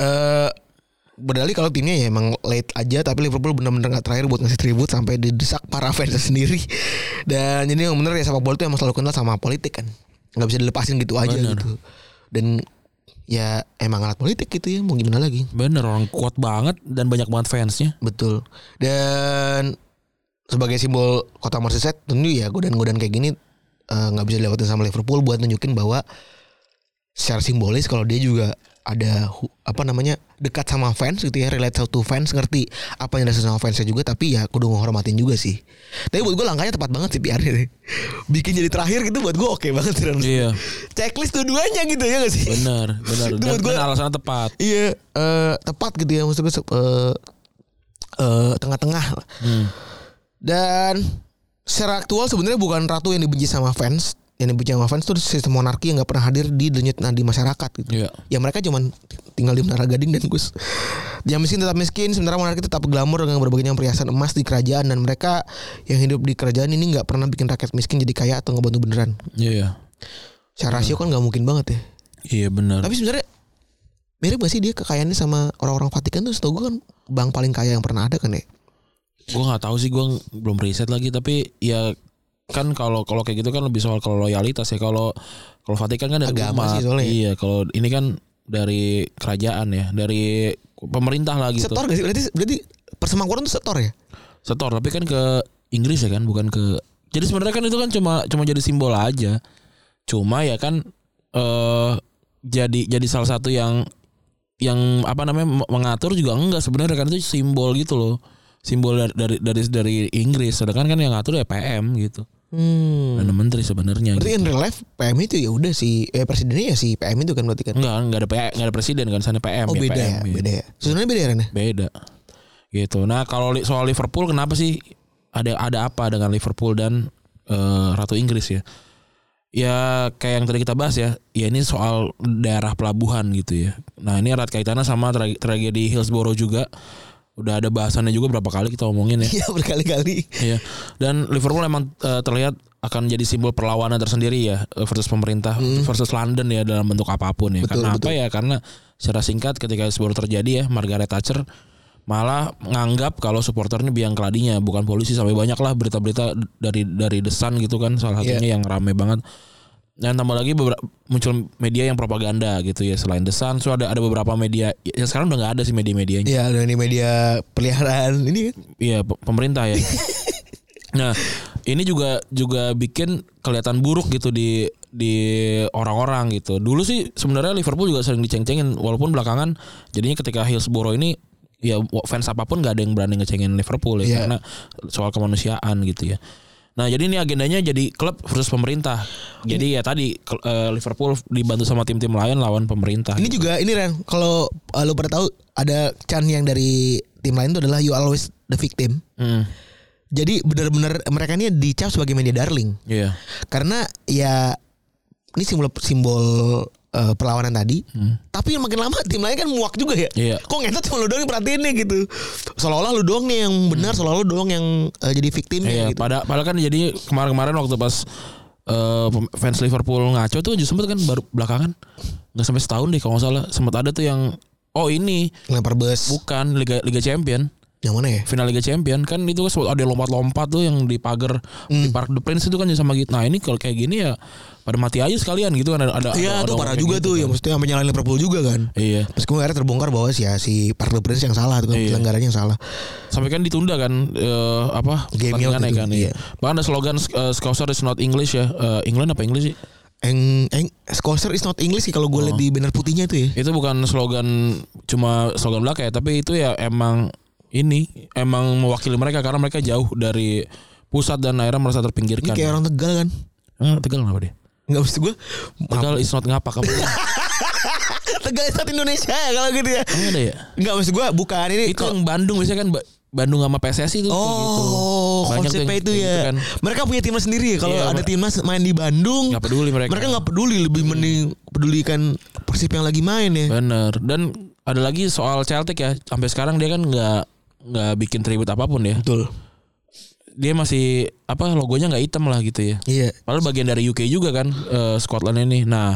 Eh berdalih kalau timnya ya emang late aja tapi Liverpool benar-benar nggak terakhir buat ngasih tribut sampai didesak para fans sendiri dan jadi yang bener ya sepak bola itu emang selalu kenal sama politik kan nggak bisa dilepasin gitu aja Bener. gitu dan ya emang alat politik gitu ya mau gimana lagi Bener orang kuat banget dan banyak banget fansnya. betul dan sebagai simbol kota Merseyside tentu ya godaan-godaan kayak gini eh, nggak bisa dilewatin sama Liverpool buat nunjukin bahwa secara simbolis kalau dia juga ada hu- apa namanya dekat sama fans gitu ya relate to fans ngerti apa yang ada sama fansnya juga tapi ya kudu menghormatin juga sih tapi buat gue langkahnya tepat banget sih PR ini bikin jadi terakhir gitu buat gue oke banget sih Ran. Iya. checklist dua-duanya gitu ya gak sih Bener, bener. Itu Dan, buat gua- dan alasannya tepat. Iya, eh, tepat gitu ya maksud gue sep- eh, eh, tengah-tengah. Hmm. Dan secara aktual sebenarnya bukan ratu yang dibenci sama fans, yang dibenci sama fans tuh sistem monarki yang nggak pernah hadir di denyut nadi masyarakat gitu. Iya. Ya mereka cuman tinggal di Menara Gading dan Gus. Yang miskin tetap miskin, sementara monarki tetap glamor dengan berbagai perhiasan emas di kerajaan dan mereka yang hidup di kerajaan ini nggak pernah bikin rakyat miskin jadi kaya atau ngebantu beneran. Iya. Secara rasio kan nggak mungkin banget ya. Iya bener. Tapi sebenarnya mirip gak sih dia kekayaannya sama orang-orang Vatikan tuh setahu gue kan bank paling kaya yang pernah ada kan ya. gue nggak tahu sih gue ng- belum riset lagi tapi ya kan kalau kalau kayak gitu kan lebih soal kalau loyalitas ya kalau kalau Vatikan kan dari Agama umat sih soalnya. iya kalau ini kan dari kerajaan ya dari pemerintah lah gitu Setor gak sih? Berarti berarti persemakmuran tuh setor ya? Setor, tapi kan ke Inggris ya kan bukan ke jadi sebenarnya kan itu kan cuma cuma jadi simbol aja cuma ya kan eh jadi jadi salah satu yang yang apa namanya me- mengatur juga enggak sebenarnya kan itu simbol gitu loh simbol dari dari dari, dari Inggris sedangkan kan yang ngatur ya PM gitu Hmm. Perdana menteri sebenarnya Berarti gitu. in real life PM itu ya udah si eh, presidennya ya si PM itu kan berarti kan. enggak enggak ada PM, enggak ada presiden kan sana PM Oh beda PM, ya, iya. beda ya. Sebenarnya beda ya Ren? ya? beda gitu nah kalau li- soal Liverpool kenapa sih ada ada apa dengan Liverpool dan eh, ratu Inggris ya ya kayak yang tadi kita bahas ya ya ini soal daerah pelabuhan gitu ya nah ini erat kaitannya sama tra- tragedi Hillsborough juga udah ada bahasannya juga berapa kali kita omongin ya Iya berkali-kali. Iya. Dan Liverpool emang eh, terlihat akan jadi simbol perlawanan tersendiri ya eh, versus pemerintah versus London ya dalam bentuk apapun ya. Hmm. Betul, karena betul. apa ya? Karena secara singkat ketika baru terjadi ya Margaret Thatcher malah menganggap kalau supporternya biang keladinya Iya. bukan polisi sampai banyak lah berita-berita dari dari desan gitu kan salah satunya yang rame banget Dan tambah lagi bebera- muncul media yang propaganda gitu ya selain The Sun, so ada ada beberapa media ya sekarang udah nggak ada sih media-medianya. Iya, ada di media peliharaan ini kan. Iya pe- pemerintah ya. nah ini juga juga bikin kelihatan buruk gitu di di orang-orang gitu. Dulu sih sebenarnya Liverpool juga sering diceng-cengin walaupun belakangan jadinya ketika Hillsborough ini ya wa- fans apapun nggak ada yang berani ngecengin Liverpool ya Iya. karena soal kemanusiaan gitu ya. Nah jadi ini agendanya jadi klub versus pemerintah. Jadi ya tadi kel- eh, Liverpool dibantu sama tim-tim lain lawan pemerintah. Ini juga ini Ren, kalau uh, lu pada tahu ada Chan yang dari tim lain itu adalah you always the victim. Mm, Jadi benar-benar mereka ini dicap sebagai media darling. Iya. Karena ya ini simbol simbol uh, perlawanan tadi. Tapi makin lama tim lain kan muak juga ya. Hmm. Iya. Kok ngetot cuma lu doang yang perhatiin nih gitu. Seolah-olah lu doang nih yang benar, seolah-olah lu doang yang uh, jadi victimnya Hmm. Iya, gitu. pada padahal kan jadi kemarin-kemarin waktu pas eh, pem- fans Liverpool ngaco tuh justru sempet kan baru belakangan nggak sampai setahun deh kalau nggak salah sempat ada tuh yang oh ini Lempar bus. bukan Liga Liga Champion Yang mana ya? final Liga Champion kan itu kan sempat ada yang lompat-lompat tuh yang di pagar di Hmm. Park the Prince itu kan sama gitu nah ini kalau kayak gini ya pada mati aja sekalian gitu kan ada ada ada- Iya, ada tuh orang parah kayak juga tuh. gitu Ya kan. maksudnya sampai nyalain Liverpool juga kan. iya Terus kemudian akhirnya terbongkar bahwa si, si Park The Prince yang salah tuh kan Iya. penyelenggaranya yang salah. sampai kan ditunda kan eh, apa Game-nya pertandingannya waktu itu, kan iya. iya. bahkan ada slogan eh, Scouser is not English ya Eh, England apa English sih Eng eng Scouser is not English sih kalau gue Oh. lihat di banner putihnya tuh ya. itu bukan slogan cuma slogan belaka ya tapi itu ya emang ini emang mewakili mereka karena mereka jauh dari pusat dan akhirnya merasa Ini terpinggirkan. kayak orang Tegal kan. Eh, tegal kenapa dia? Enggak maksud gue Tegal is not ngapak apa? Tegal is not Indonesia ya kalau gitu ya. Emang ada ya? Enggak maksud gue bukan ini Itu kok- yang Bandung biasanya kan Ba- Bandung sama PSSI itu kayak gitu. Oh, Banyak tuh yang konsepnya itu kayak gitu ya. kan. Mereka punya timnas sendiri ya. Kalau Iya, ada mer- timnas main di Bandung, Nggak peduli mereka. mereka nggak peduli lebih mending pedulikan persib yang lagi main ya. Bener. Dan ada lagi soal Celtic ya. Sampai sekarang dia kan nggak nggak bikin tribut apapun ya. Betul. Dia masih apa logonya nggak hitam lah gitu ya. Iya. Padahal bagian dari UK juga kan eh, Scotland ini. Nah,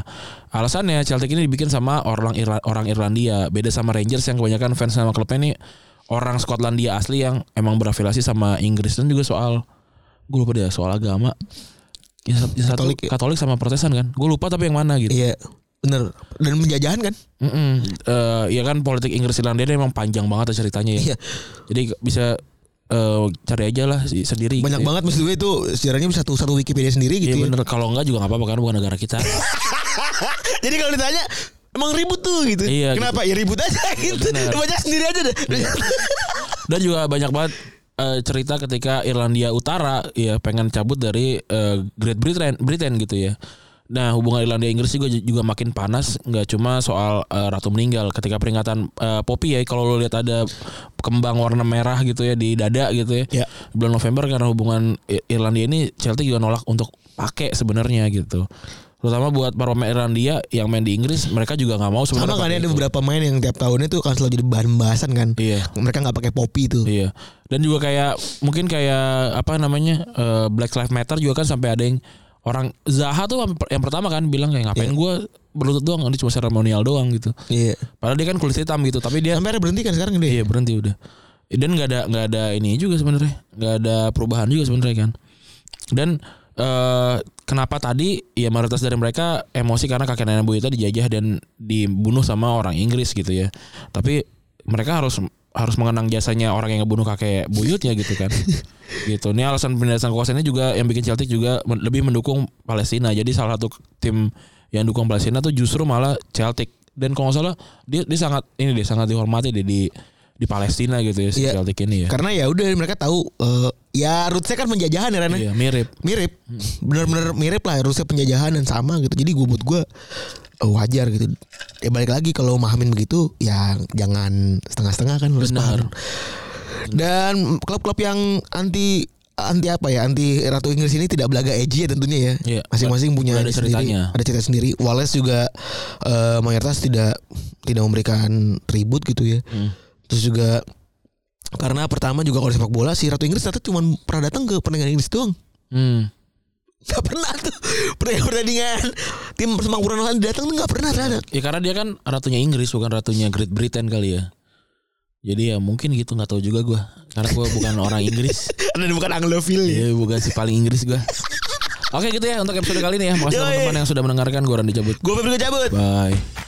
alasannya Celtic ini dibikin sama orang Irla- orang Irlandia. Beda sama Rangers yang kebanyakan fans sama klubnya ini orang Skotlandia asli yang emang berafiliasi sama Inggris dan juga soal gue lupa deh soal agama. Ya, sat- ya satu, Katolik Katolik, ya? sama Protestan kan. Gue lupa tapi yang mana gitu. Iya. Bener. Dan penjajahan kan? Mm-mm. Eh, ya kan politik Inggris Irlandia ini emang panjang banget ya ceritanya ya. Iya. Jadi bisa eh, cari aja lah si- sendiri. Banyak gitu ya. banget maksud gue itu sejarahnya satu satu Wikipedia sendiri Iya gitu. ya. bener kalau enggak juga nggak apa-apa karena bukan negara kita. Jadi kalau ditanya emang ribut tuh gitu. Iya, Kenapa? Ya ribut aja gitu. benar. Baca sendiri aja deh. Iya. Dan juga banyak banget eh, cerita ketika Irlandia Utara ya pengen cabut dari eh, Great Britain Britain gitu ya. Nah hubungan Irlandia Inggris juga juga makin panas nggak cuma soal eh, ratu meninggal ketika peringatan eh, Poppy ya kalau lo lihat ada kembang warna merah gitu ya di dada gitu ya Ya. bulan November karena hubungan I- Irlandia ini Celtic juga nolak untuk pakai sebenarnya gitu terutama buat para pemain Irlandia yang main di Inggris mereka juga nggak mau Sama sebenarnya kan pakai ya, ada itu. beberapa main yang tiap tahunnya tuh kan selalu jadi bahan pembahasan kan. gitu. Iya. Mereka nggak pakai popi tuh. Iya. Dan juga kayak mungkin kayak apa namanya eh, Black Lives Matter juga kan sampai ada yang orang Zaha tuh yang per- yang pertama kan bilang kayak ngapain gue berlutut doang ini cuma seremonial doang gitu. Iya. Padahal dia kan kulit hitam gitu tapi dia Sampai ada berhenti kan sekarang iya dia. berhenti udah. Dan nggak ada nggak ada ini juga sebenarnya nggak ada perubahan juga sebenarnya kan. Dan eh, kenapa tadi ya mayoritas dari mereka emosi karena kakek nenek buyutnya dijajah dan dibunuh sama orang Inggris gitu ya. Tapi mereka harus harus mengenang jasanya orang yang ngebunuh kakek buyutnya gitu kan. gitu. Ini alasan penindasan kekuasaannya juga yang bikin Celtic juga men- lebih mendukung Palestina. Jadi salah satu tim yang dukung Palestina tuh justru malah Celtic. Dan kalau nggak salah dia, dia sangat ini dia sangat dihormati dia di di Palestina gitu ya si Iya. Celtic ini ya. Karena ya udah mereka tahu eh, ya rootsnya kan penjajahan ya Rana. Iya, mirip. Mirip. Bener-bener mirip lah rootsnya penjajahan dan sama gitu. Jadi gue buat gue eh, wajar gitu. Ya balik lagi kalau mahamin begitu ya jangan setengah-setengah kan harus paham. Benar. Dan klub-klub yang anti anti apa ya anti ratu Inggris ini tidak belaga edgy ya tentunya ya Iya. masing-masing punya Udah ada ini sendiri, ceritanya. ada cerita sendiri Wallace juga eh, mayoritas tidak tidak memberikan tribut gitu ya Hmm. terus juga karena pertama juga kalau di sepak bola si ratu Inggris ternyata cuma pernah datang ke pertandingan Inggris doang Hmm. Gak pernah tuh pertandingan pertandingan tim Semangkuran lain datang tuh gak pernah ternyata Ya karena dia kan ratunya Inggris bukan ratunya Great Britain kali ya. Jadi ya mungkin gitu nggak tahu juga gua Karena gua bukan orang Inggris. dan bukan Anglophile ya Iya bukan si paling Inggris gua Oke gitu ya untuk episode kali ini ya. Makasih Yoi. teman-teman yang sudah mendengarkan. Gue Randy Cabut. Gue Febri cabut. Bye.